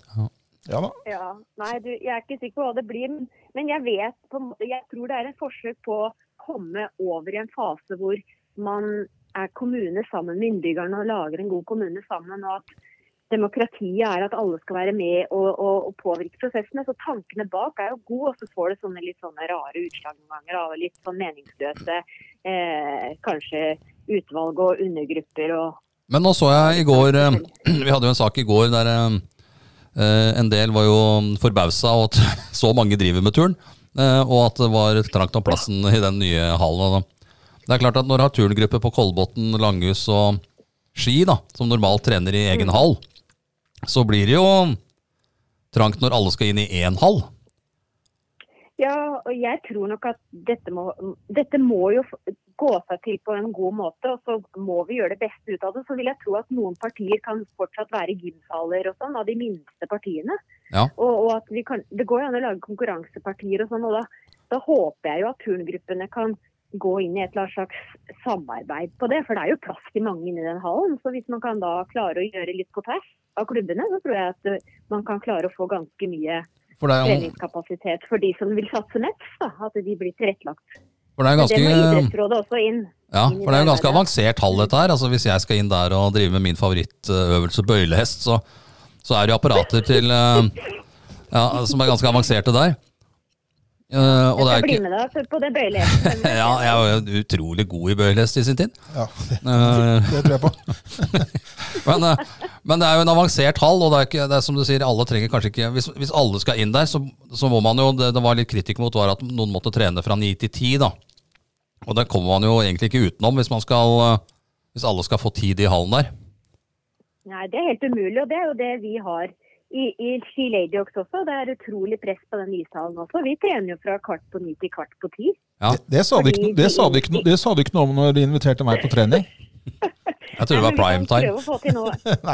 Speaker 2: ja da.
Speaker 3: Ja, nei, du, jeg er ikke sikker på hva det blir, men- men jeg vet på en måte, jeg tror det er et forsøk på å komme over i en fase hvor man er kommune sammen med innbyggerne og lager en god kommune sammen. og at Demokratiet er at alle skal være med og, og, og påvirke prosessene. Så tankene bak er jo gode, og så får det sånne litt sånne rare utslag noen ganger. da, Og litt sånn meningsløse eh, kanskje utvalg og undergrupper og
Speaker 1: Men nå så jeg i går eh, *clears throat* Vi hadde jo en sak i går der eh, eh, en del var jo forbausa over at *laughs* så mange driver med turn, eh, og at det var trangt om plassen i den nye hallen. Da. Det er klart at når du har turngrupper på Kolbotn, Langhus og Ski, da, som normalt trener i
Speaker 3: Mm.
Speaker 1: egen hall, så blir det jo trangt når alle skal inn i én hall.
Speaker 3: Ja, og jeg tror nok at dette må, dette må jo f- gå seg til på en god måte, og så må vi gjøre det beste ut av det. Så vil jeg tro at noen partier kan fortsatt være gymsaler og sånn, av de minste partiene.
Speaker 1: Ja.
Speaker 3: Og, og at vi kan, det går jo an å lage konkurransepartier og sånn, og da, da håper jeg jo at turngruppene kan gå inn i et eller annet slags samarbeid på det. For det er jo plass til mange inni den hallen, så hvis man kan da klare å gjøre litt på tvers av klubbene, så tror jeg at eh, man kan klare å få ganske mye
Speaker 1: For det er jo
Speaker 3: treningskapasitet for de som vil satse mest. Da, at de blir tilrettelagt.
Speaker 1: for det er jo
Speaker 3: Men Det må
Speaker 1: ganske
Speaker 3: Idrettsrådet også inn.
Speaker 1: Ja,
Speaker 3: inn i
Speaker 1: for det er jo
Speaker 3: det
Speaker 1: ganske
Speaker 3: arbeidet.
Speaker 1: avansert hall dette her. Altså Hvis jeg skal inn der og drive med min favorittøvelse, bøylehest, så, så er det jo apparater til eh, ja, som er ganske avanserte der. Eh, og det er
Speaker 3: Jeg blir
Speaker 1: ikke
Speaker 3: med deg på det bøylet.
Speaker 1: *laughs* ja, Jeg var jo utrolig god i bøylehest i sin tid.
Speaker 2: Ja, det,
Speaker 1: Eh,
Speaker 2: det tror jeg på.
Speaker 1: men, eh, men det er jo en avansert hall, og det er, ikke, det er som du sier, alle trenger kanskje ikke Hvis, hvis alle skal inn der, så, så må man jo Det det var litt kritikk mot, var at noen måtte trene fra ni til ti, da. Og det kommer man jo egentlig ikke utenom hvis, man skal, eh, hvis alle skal få tid i hallen der.
Speaker 3: *laughs* Nei, det er helt umulig, og det er jo det vi har i, i Ski Lady Ox også. Det er utrolig press på den ishallen også. Vi trener jo fra kvart på ni til kvart på ti.
Speaker 1: Ja.
Speaker 2: Det, det, sa du ikke, no- det, sa du ikke, no- det sa du ikke noe om når de inviterte meg på trening.
Speaker 1: Jeg tror det var prime
Speaker 3: Vi
Speaker 1: time.
Speaker 3: kan prøve å få til,
Speaker 1: *laughs*
Speaker 3: noe.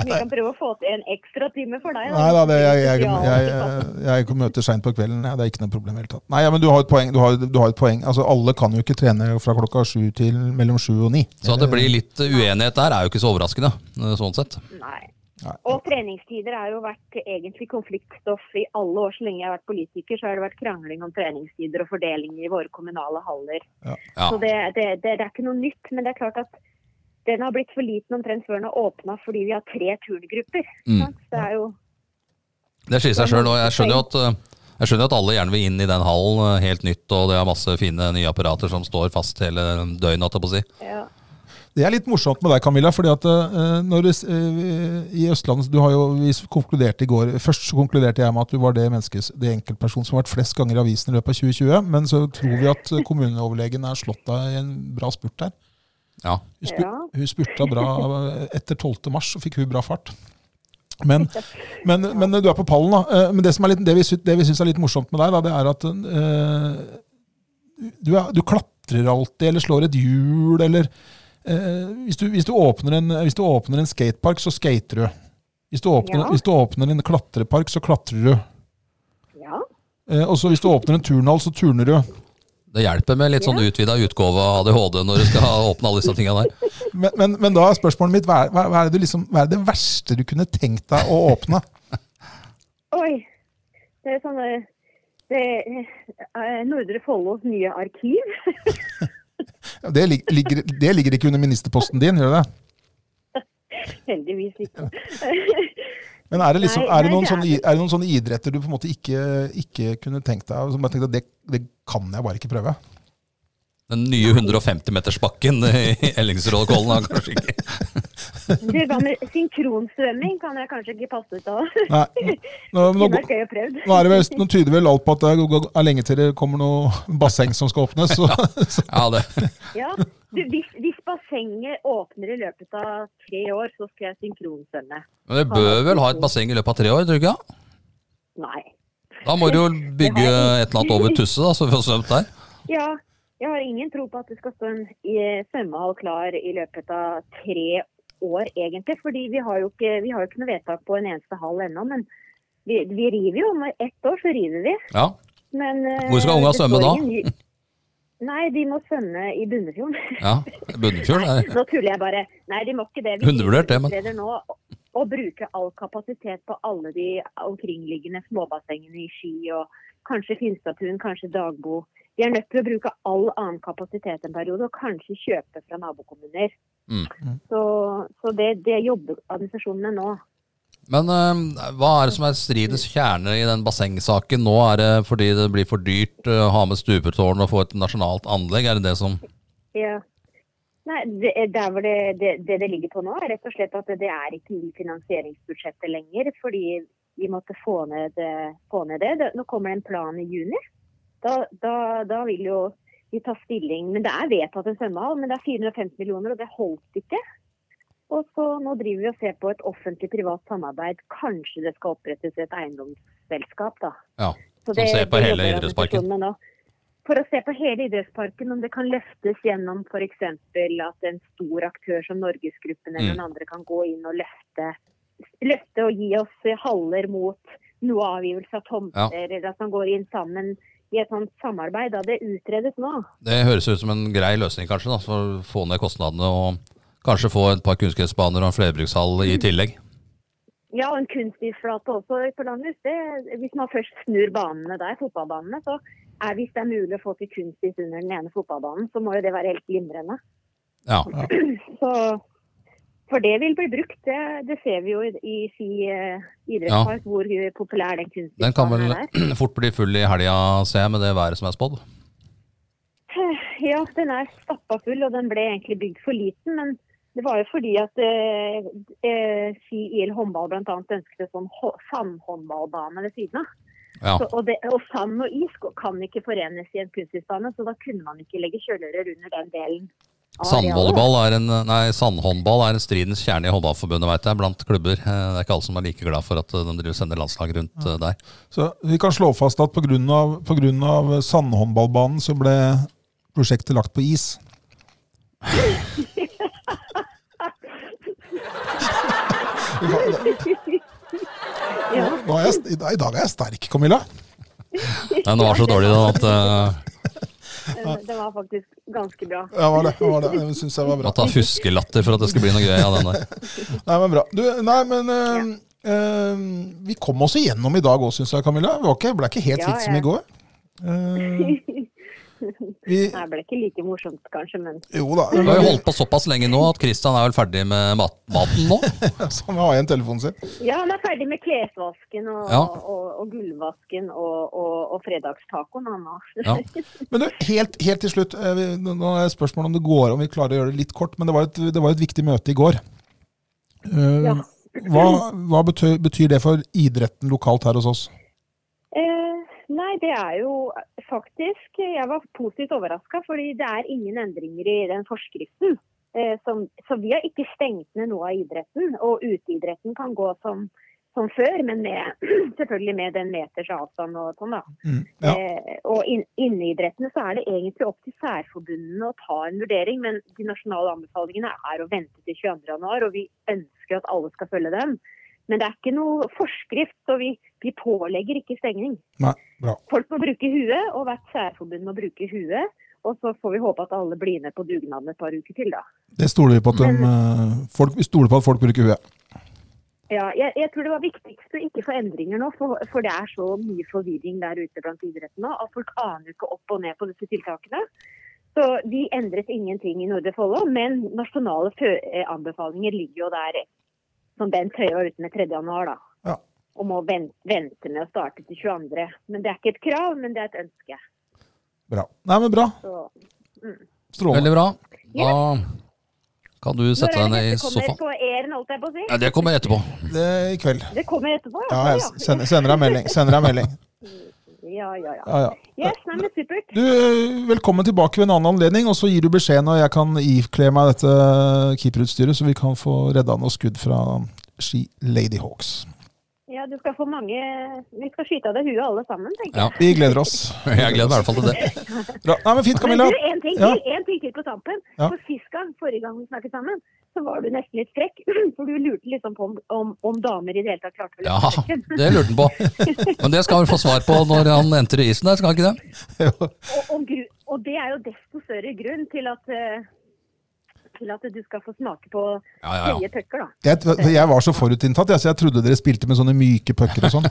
Speaker 3: Vi kan prøve å få til en ekstra time for deg.
Speaker 2: Nei da, det, jeg, jeg, jeg, jeg, møter seint på kvelden. Ja, det er ikke noe problem i det hele tatt. Nei, ja, men du har et poeng. Du har, du har et poeng. Altså, alle kan jo ikke trene fra klokka sju til mellom sju og ni.
Speaker 1: Så at det blir litt eh, uenighet der, er jo ikke så overraskende. eh, sånn sett.
Speaker 3: Nei.
Speaker 2: Nei.
Speaker 3: Og treningstider har jo vært egentlig konfliktstoff i alle år. Så lenge jeg har vært politiker, så har det vært krangling om treningstider og fordeling i våre kommunale haller.
Speaker 1: Ja.
Speaker 3: Så det, det, det, det er ikke noe nytt. Men det er klart at Den har blitt for liten omtrent før den har åpna fordi vi har tre turngrupper.
Speaker 1: Mm.
Speaker 3: sant? Så Det er jo
Speaker 1: Det sier seg sjøl. Og jeg skjønner jo at, eh, jeg skjønner at alle gjerne vil inn i den hallen, eh, helt nytt, og det er masse fine nye apparater som står fast hele døgnet, holdt jeg på å si.
Speaker 3: ja.
Speaker 2: Det er litt morsomt med deg, Camilla. fordi at eh, når du, s- eh, i Østlandet, du har jo, Vi s- konkluderte i går Først så konkluderte jeg med at du var det menneskes, det enkeltperson som har vært flest ganger i avisen i løpet av 2020. Men så tror vi at kommuneoverlegen er slått av i en bra spurt her.
Speaker 1: Ja.
Speaker 2: Hun, spur,
Speaker 3: Ja.
Speaker 2: hun spurta bra eh, etter 12. mars, så fikk hun bra fart. Men, men, men du er på pallen, da. Eh, Men det, som er litt, det vi, sy- det vi syns er litt morsomt med deg, da, det er at eh, du, er, du klatrer alltid, eller slår et hjul, eller eh, hvis, du, hvis, du åpner en, hvis du åpner en skatepark, så skater du. Hvis du, åpner,
Speaker 3: Ja.
Speaker 2: hvis du åpner en klatrepark, så klatrer du.
Speaker 3: ja.
Speaker 2: Eh, og så hvis du åpner en turnhall, så turner du.
Speaker 1: Det hjelper med litt sånn utvida utgave av ADHD når du *laughs* skal åpne alle disse tinga der.
Speaker 2: Men, men, men da er spørsmålet mitt, hva er, hva, hva, er det du liksom, hva er det verste du kunne tenkt deg å åpne?
Speaker 3: Oi. Det er sånn eh, det er eh, Nordre Follos nye arkiv. *laughs*
Speaker 2: Ja, Det, lig- ligger, det ligger ikke under ministerposten din, gjør det det?
Speaker 3: Heldigvis ikke. *laughs*
Speaker 2: Men er det, liksom,
Speaker 3: Nei,
Speaker 2: er det,
Speaker 3: nei,
Speaker 2: noen,
Speaker 3: det er
Speaker 2: sånne, i- er det noen sånne idretter du på en måte ikke, ikke kunne tenkt deg? Som bare tenkte at det, det kan jeg bare ikke prøve.
Speaker 1: Den nye 150-metersbakken i Ellingsrådkollen har kanskje ikke
Speaker 3: Du, hva med synkronsvømming kan jeg kanskje ikke passe ut av.
Speaker 2: Nei, nå, nå,
Speaker 3: Kunne vært gøy å prøvd.
Speaker 2: nå, er det vel, nå tyder vel alt på at det er- er lenge til det kommer noe basseng som skal åpnes. Så, *laughs* så,
Speaker 1: Ja, det.
Speaker 3: Ja. Du, hvis, hvis bassenget åpner i løpet av tre år, så skal jeg synkronsvømme.
Speaker 1: Men vi bør vel ha et basseng i løpet av tre år, tror du ikke? ja?
Speaker 3: Nei.
Speaker 1: Da må du jo bygge et eller annet over Tusse, da, så vi får svømt der.
Speaker 3: Ja, jeg har ingen tro på at det skal stå en eh, svømmehall klar i løpet av tre år, egentlig. Fordi vi har jo ikke, vi har jo ikke noe vedtak på en eneste hall ennå. Men vi, vi river jo. Om ett år så river vi.
Speaker 1: Ja.
Speaker 3: Men eh,
Speaker 1: Hvor skal unga
Speaker 3: det står
Speaker 1: svømme da?
Speaker 3: ingen ny- Nei, de må svømme i Bunnefjorden.
Speaker 1: ja. Bunnefjord er
Speaker 3: Nå tuller jeg bare. Nei, de må ikke det.
Speaker 1: Hundrevurdert det, men-
Speaker 3: utreder nå å bruke all kapasitet på alle de omkringliggende småbassengene i Ski og kanskje Finstadtun, kanskje Dagbo. De er nødt til å bruke all annen kapasitet en periode, og kanskje kjøpe fra nabokommuner.
Speaker 1: Mm.
Speaker 3: Så, så det, det jobber administrasjonene nå.
Speaker 1: Men eh, hva er det som er stridens kjerne i den bassengsaken? Nå er det fordi det blir for dyrt eh, å ha med stupetårn og få et nasjonalt anlegg, er det det som
Speaker 3: Ja. Nei, det, der hvor det, det, det det ligger på nå, er rett og slett at det er ikke i finansieringsbudsjettet lenger. Fordi vi måtte få ned, få ned det. det. Nå kommer det en plan i juni. Da, da, da vil jo vi ta stilling. Men det er vedtatt en svømmehall, men det er 450 millioner, og det holdt ikke. Og så nå driver vi og ser på et offentlig-privat samarbeid. Kanskje det skal opprettes et eiendomsselskap, da.
Speaker 1: Ja.
Speaker 3: Så
Speaker 1: Som ser på hele
Speaker 3: jobber
Speaker 1: idrettsparken.
Speaker 3: organisasjonene nå. For å se på hele idrettsparken, om det kan løftes gjennom f.eks. at en stor aktør som Norgesgruppen eller
Speaker 1: Mm.
Speaker 3: noen andre kan gå inn og løfte, løfte og gi oss haller mot noe avgivelse av tomter, eller at man går inn sammen i et sånt samarbeid. Da det utredes nå.
Speaker 1: Det høres ut som en grei løsning, kanskje, da, for å få ned kostnadene og kanskje få et par kunstgressbaner og en flerbrukshall i tillegg.
Speaker 3: Ja, og en kunstisflate også på Langhus. Det- Hvis man først snur banene der, fotballbanene, så er hvis det er mulig å få til kunstis under den ene fotballbanen, så må jo det være helt glimrende.
Speaker 1: Ja.
Speaker 3: Så, for det vil bli brukt. Det, det ser vi jo i, i Ski eh, idrettspark, hvor populær den
Speaker 1: Den kan
Speaker 3: kunstnerbanen er.
Speaker 1: vel *clears throat* fort bli full i helga, ser jeg, med det været som er spådd.
Speaker 3: *laughs* Ja, den er stappa full, og den ble egentlig bygd for liten. Men det var jo fordi at eh, eh, Ski IL håndball bl.a. ønsket en sånn hå- sandhåndballbane ved siden av.
Speaker 1: Ja.
Speaker 3: Så, og, det, og sand og is kan ikke forenes i en kunstisbane, så da kunne man ikke legge kjølerør under den delen. av arealet.
Speaker 1: Sandvolleyball er en, nei, sandhåndball er en stridens kjerne i håndballforbundet, veit jeg, blant klubber. Eh, Det er ikke alle som er like glad for at eh, de driver og sender landslag rundt eh, der.
Speaker 2: så vi kan slå fast at pga. sandhåndballbanen så ble prosjektet lagt på is. Vi kan-
Speaker 3: Ja.
Speaker 2: Nå er jeg, st- I dag- i dag er jeg sterk, Camilla.
Speaker 1: Den var så dårlig den at eh,
Speaker 3: Eh, Det var faktisk ganske bra.
Speaker 2: Ja, var det, var det. Jeg syns jeg var bra.
Speaker 1: måtte ha fuskelatter for at det skulle bli noe gøy av den der.
Speaker 2: Nei, men bra. Du, nei, men eh, eh, vi kom oss igjennom i dag òg, syns jeg, Camilla. Vi var ikke, ble ikke helt
Speaker 3: Ja,
Speaker 2: hit som
Speaker 3: ja.
Speaker 2: i går. Eh, Vi,
Speaker 3: Nei, Det ble ikke like morsomt kanskje, men
Speaker 2: jo da.
Speaker 1: Du har jo holdt
Speaker 2: *laughs*
Speaker 1: på såpass lenge nå at Christian er vel ferdig med mat maten nå?
Speaker 2: Så han har igjen telefonen sin.
Speaker 3: Ja, han er ferdig med klesvasken og,
Speaker 1: Ja.
Speaker 3: og, og gulvvasken og, og, og fredagstacoen, han nå.
Speaker 1: Ja.
Speaker 2: Men du, helt, helt til slutt. eh, vi- Nå nå er det spørsmål om det går om vi klarer å gjøre det litt kort, men det var et, det var et viktig møte i går. Eh,
Speaker 3: *laughs* Ja.
Speaker 2: Hva, hva betyr, betyr det for idretten lokalt her hos oss?
Speaker 3: Eh, nei, det er jo faktisk Jeg var positivt overraska, fordi det er ingen endringer i den forskriften. Eh, som, så vi har ikke stengt ned noe av idretten. Og uteidretten kan gå som, som før, men med, *clears throat* selvfølgelig med den meters avstand og sånn, da.
Speaker 2: Mm, ja.
Speaker 3: Eh, og inn- inneidrettene så er det egentlig opp til særforbundene å ta en vurdering, men de nasjonale anbefalingene er å vente til 22. januar, og vi ønsker at alle skal følge dem. Men det er ikke noe forskrift, så vi, vi pålegger ikke stengning.
Speaker 2: Nei, bra.
Speaker 3: Folk må bruke huet, og hvert særforbund må bruke huet. Og så får vi håpe at alle blir med på dugnaden et par uker til, da.
Speaker 2: Det stoler vi på at, de, eh, folk, vi stoler på at folk bruker huet.
Speaker 3: Ja, jeg, jeg tror det var viktigst å ikke få endringer nå, for, for det er så mye forvirring der ute blant idretten nå at folk aner ikke opp og ned på disse tiltakene. Så de endret ingenting i Nordre Follo, men nasjonale fø- eh, anbefalinger ligger jo der som Bent Høie var ute med 3. januar, da.
Speaker 2: Ja.
Speaker 3: Om å vente, vente med å starte til 22. Men det er ikke et krav, men det er et ønske.
Speaker 2: Bra. Nei, men bra.
Speaker 3: Så
Speaker 2: Strålende.
Speaker 1: Veldig bra. Da kan du sette deg
Speaker 3: Når
Speaker 1: ned
Speaker 3: er det
Speaker 1: i
Speaker 3: dette kommer
Speaker 1: sofaen.
Speaker 3: på airen, holdt jeg på å si?
Speaker 1: Ja, det kommer etterpå.
Speaker 2: Det, eh, I kveld.
Speaker 3: Det kommer etterpå,
Speaker 2: Ja, jeg sender, sender deg melding. Sender deg melding.
Speaker 3: Ja, ja, ja.
Speaker 2: Ja, ja.
Speaker 3: Yes, nei, men supert.
Speaker 2: Du, eh, velkommen tilbake ved en annen anledning, og så gir du beskjed når jeg kan ikle meg dette keeperutstyret, så vi kan få redda noe skudd fra Ski Lady Hawks.
Speaker 3: Ja, du skal få mange Vi skal skyte av deg huet alle sammen, tenker jeg.
Speaker 1: Ja,
Speaker 2: Vi gleder oss.
Speaker 1: *laughs* jeg gleder meg i hvert fall til det.
Speaker 2: Bra. Nei, men fint,
Speaker 3: Men
Speaker 2: Camilla.
Speaker 3: du, en ting,
Speaker 2: Ja.
Speaker 3: til, en ting til på tampen.
Speaker 2: Ja.
Speaker 3: For Sist gang, forrige gang vi snakket sammen, så var du nesten litt frekk. *clears throat* For du lurte liksom på om, om, om damer i det hele tatt klarte å
Speaker 1: Ja,
Speaker 3: løpe sekken.
Speaker 1: det lurte han på. Men det skal han få svar på når han entrer isen der, skal han ikke det?
Speaker 3: Og, om gru, og det er jo desto større grunn til at eh, til at du skal få smake på
Speaker 1: Ja, ja, ja.
Speaker 3: høye pucker, da.
Speaker 2: Jeg, jeg var så forutinntatt, jeg, så jeg trodde dere spilte med sånne myke pucker og sånn.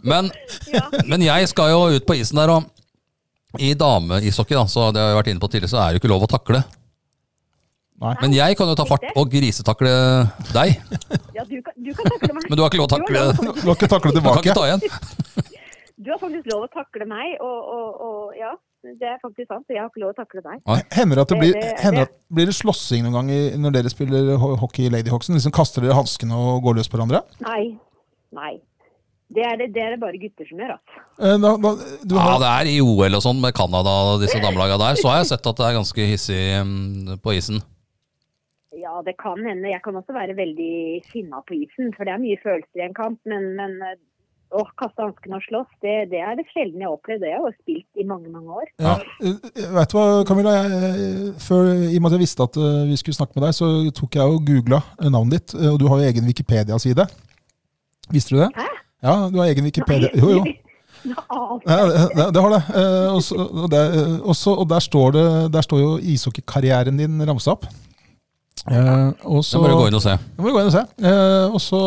Speaker 1: Men
Speaker 3: Ja.
Speaker 1: Men jeg skal jo ut på isen der, og i dameishockey, da, så det har jeg vært inne på tidligere, så er det jo ikke lov å takle.
Speaker 2: Nei.
Speaker 1: Men jeg kan jo ta fart og grisetakle deg.
Speaker 3: ja, du kan, du kan takle meg.
Speaker 1: *laughs* Men du har ikke lov å
Speaker 3: Du har
Speaker 1: takle
Speaker 3: lov å-
Speaker 2: Du har ikke taklet
Speaker 1: Du kan
Speaker 2: tilbake.
Speaker 1: ikke ta igjen.
Speaker 3: Du har faktisk lov å takle meg, og, og, og ja. Det er faktisk sant. Jeg har ikke lov å takle deg.
Speaker 2: Hender det at det blir,
Speaker 3: Det- det-
Speaker 2: hender at, blir det slåssing noen gang i- når dere spiller ho- hockey i Lady Hawksen? Liksom kaster dere hanskene og går løs på hverandre?
Speaker 3: Nei. Nei. Det er det, det, er det bare gutter som gjør, altså.
Speaker 2: Eh, Da, da, du
Speaker 1: Ja,
Speaker 2: har,
Speaker 1: det er i OL og sånn med Canada og disse damelaga der, så har jeg sett at det er ganske hissig mm, på isen.
Speaker 3: Ja, det kan hende. Jeg kan også være veldig sinna på isen, for det er mye følelser i en kamp. Men, men eh, å kaste hanskene og slåss, det, det er det sjelden jeg har opplevd. Det har jeg jo spilt i mange, mange år.
Speaker 2: ja. Eh, Vet du hva, Camilla? Jeg, eh, før, I og med at jeg visste at eh, vi skulle snakke med deg, så tok jeg og googla navnet ditt. eh, Og du har jo egen Wikipedia-side. Visste du det?
Speaker 3: Hæ?
Speaker 2: Ja, du har egen Wikipedia. Jo,
Speaker 3: *laughs*
Speaker 2: jo.
Speaker 3: Nå aner
Speaker 2: Ja, det, det har det. Eh, og så- og det. eh, Og, så- og der står det Der står jo ishockeykarrieren din ramsa opp. Eh, og
Speaker 1: Så
Speaker 2: så
Speaker 1: må du gå inn og se.
Speaker 2: Det må du gå inn og se. Eh, og så,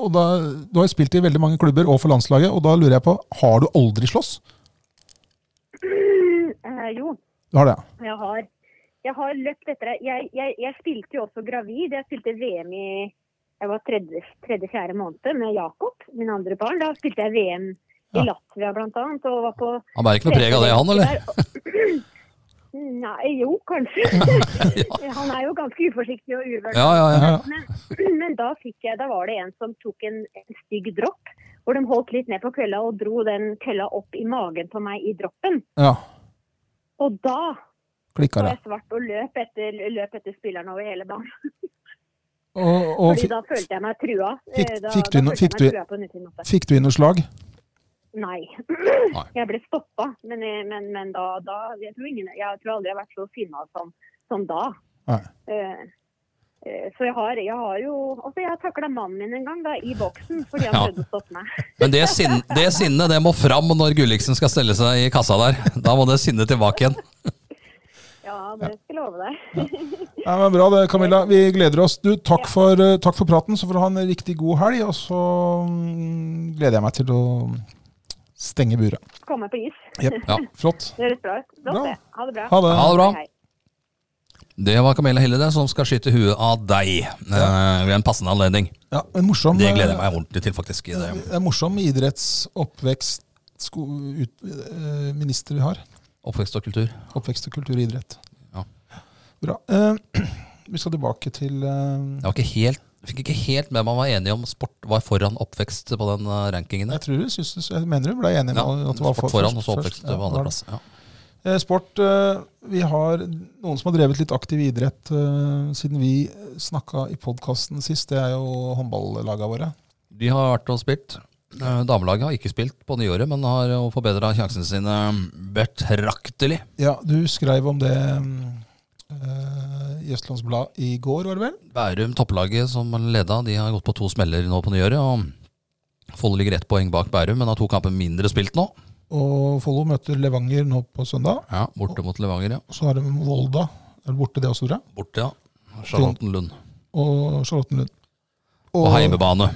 Speaker 2: og da, du har jo spilt i veldig mange klubber og for landslaget, og da lurer jeg på, har du aldri slåss?
Speaker 3: jeg. Eh, jo,
Speaker 2: Du har det, ja.
Speaker 3: jeg har, jeg har løpt etter deg. Jeg, jeg, jeg spilte jo også gravid. Jeg spilte VM i jeg var tredje- tredje-fjerde måned med Jakob, min andre barn. Da spilte jeg VM
Speaker 2: Ja.
Speaker 3: i Latvia bl.a. og var på
Speaker 1: Han bærer ikke noe preg av det, han, eller?
Speaker 3: Nei, jo,
Speaker 1: *laughs*
Speaker 3: kanskje. Han er jo ganske uforsiktig og uvørt.
Speaker 1: Ja, ja, ja.
Speaker 3: Men, men da, fikk jeg, da var det en som tok en, en stygg dropp, hvor de holdt litt ned på kølla og dro den kølla opp i magen på meg i droppen.
Speaker 2: Ja,
Speaker 3: Og da
Speaker 2: klikka
Speaker 3: var
Speaker 2: det.
Speaker 3: jeg svart og løp etter, løp etter spillerne over hele banen.
Speaker 2: Og, og
Speaker 3: Fordi
Speaker 2: fi-
Speaker 3: da følte jeg meg trua. Eh,
Speaker 2: Fikk-
Speaker 3: da,
Speaker 2: fikk du
Speaker 3: da
Speaker 2: no-
Speaker 3: følte
Speaker 2: fikk du-
Speaker 3: jeg meg trua på en utsiden måte.
Speaker 2: fikk du inn noe slag?
Speaker 3: Nei.
Speaker 1: Nei.
Speaker 3: Jeg ble stoppa, men, eh, men, men da, da jeg, tror ingen, jeg tror aldri jeg har vært så sinna som, som da.
Speaker 2: Nei.
Speaker 3: Eh, eh, Så jeg har, jeg har jo Altså, jeg har takla mannen min en gang, da, i boksen, fordi han
Speaker 1: Ja.
Speaker 3: prøvde å stoppe meg.
Speaker 1: Men det, sinn, det sinnet det må fram når Gulliksen skal stelle seg i kassa der. Da må det sinnet tilbake igjen.
Speaker 3: Ja, det skal jeg love deg.
Speaker 2: Nei, men Bra det, Camilla. Vi gleder oss. Du, takk, for, eh, takk for praten. Så får du ha en riktig god helg, og så mm, gleder jeg meg til å stenge buret.
Speaker 3: Komme på is. *laughs*
Speaker 2: Jep.
Speaker 1: Ja.
Speaker 2: Flott.
Speaker 3: Det høres bra ut. Flott,
Speaker 2: Bra.
Speaker 3: det. Ha det bra.
Speaker 2: Ha det.
Speaker 1: Ha det bra.
Speaker 3: Hei.
Speaker 1: Det var Camilla Hille det, som skal skyte huet av deg eh, ved en passende anledning.
Speaker 2: Ja, en morsom,
Speaker 1: Det gleder jeg meg ordentlig til, faktisk. i Det.
Speaker 2: Det er morsom idrettsoppvekst sko, ut, eh, minister vi har.
Speaker 1: Oppvekst og kultur.
Speaker 2: Oppvekst og kultur og idrett.
Speaker 1: Ja.
Speaker 2: Bra. Eh, *clears throat* vi skal tilbake til eh,
Speaker 1: Jeg var ikke helt, fikk ikke helt med meg om man var enig om sport var foran oppvekst på den eh, rankingen.
Speaker 2: Jeg
Speaker 1: der.
Speaker 2: tror du syns Jeg mener hun ble enig med
Speaker 1: Ja,
Speaker 2: at det var
Speaker 1: sport
Speaker 2: for-
Speaker 1: foran, og
Speaker 2: først-
Speaker 1: så oppvekst
Speaker 2: først.
Speaker 1: på
Speaker 2: Ja, det var det.
Speaker 1: andreplass. Ja.
Speaker 2: Eh, Sport. eh, Vi har noen som har drevet litt aktiv idrett eh, siden vi snakka i podkasten sist. Det er jo håndballagene våre.
Speaker 1: De har vært og spilt. Eh, Damelaget har ikke spilt på nyåret, men har jo forbedra sjansene sine betraktelig.
Speaker 2: Ja, du skrev om det mm, eh, i Østlands Blad i går, var det vel?
Speaker 1: Bærum, topplaget som leda, de har gått på to smeller nå på nyåret. og Follo ligger ett poeng bak Bærum, men har to kamper mindre spilt nå.
Speaker 2: Og Follo møter Levanger nå på søndag.
Speaker 1: Ja, Borte mot Levanger, ja.
Speaker 2: Og så har de Volda. Er det borte, det også, tror jeg.
Speaker 1: Borte, ja. Charlottenlund.
Speaker 2: Og Charlottenlund.
Speaker 1: På heimebane.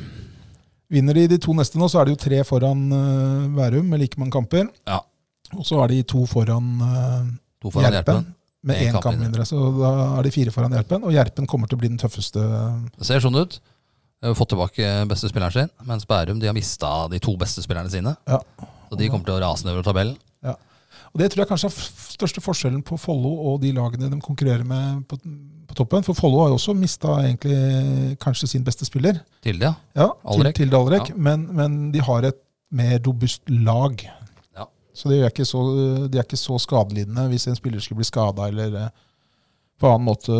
Speaker 2: vinner de de to neste nå, så er det jo tre foran eh, Værum med like mange kamper.
Speaker 1: Ja.
Speaker 2: Og så er de to foran eh,
Speaker 1: To foran
Speaker 2: Gjerpen
Speaker 1: Gjerpen.
Speaker 2: med én kamp mindre. Så da er de fire foran Gjerpen, og Gjerpen kommer til å bli den tøffeste.
Speaker 1: Det ser sånn ut. De har fått tilbake beste spilleren sin, mens Bærum de har mista de to beste spillerne sine.
Speaker 2: Ja.
Speaker 1: Så de kommer til å rase nedover tabellen.
Speaker 2: Ja. Og Det tror jeg kanskje er f- største forskjellen på Follo og de lagene de konkurrerer med på, på toppen. For Follo har jo også mista egentlig kanskje sin beste spiller,
Speaker 1: Tilde, ja.
Speaker 2: ja, til,
Speaker 1: Alrek.
Speaker 2: til Dalrek,
Speaker 1: Ja.
Speaker 2: men, men de har et mer robust lag.
Speaker 1: Ja.
Speaker 2: Så de er ikke så, de er ikke så skadelidende hvis en spiller skulle bli skada eller eh, på annen måte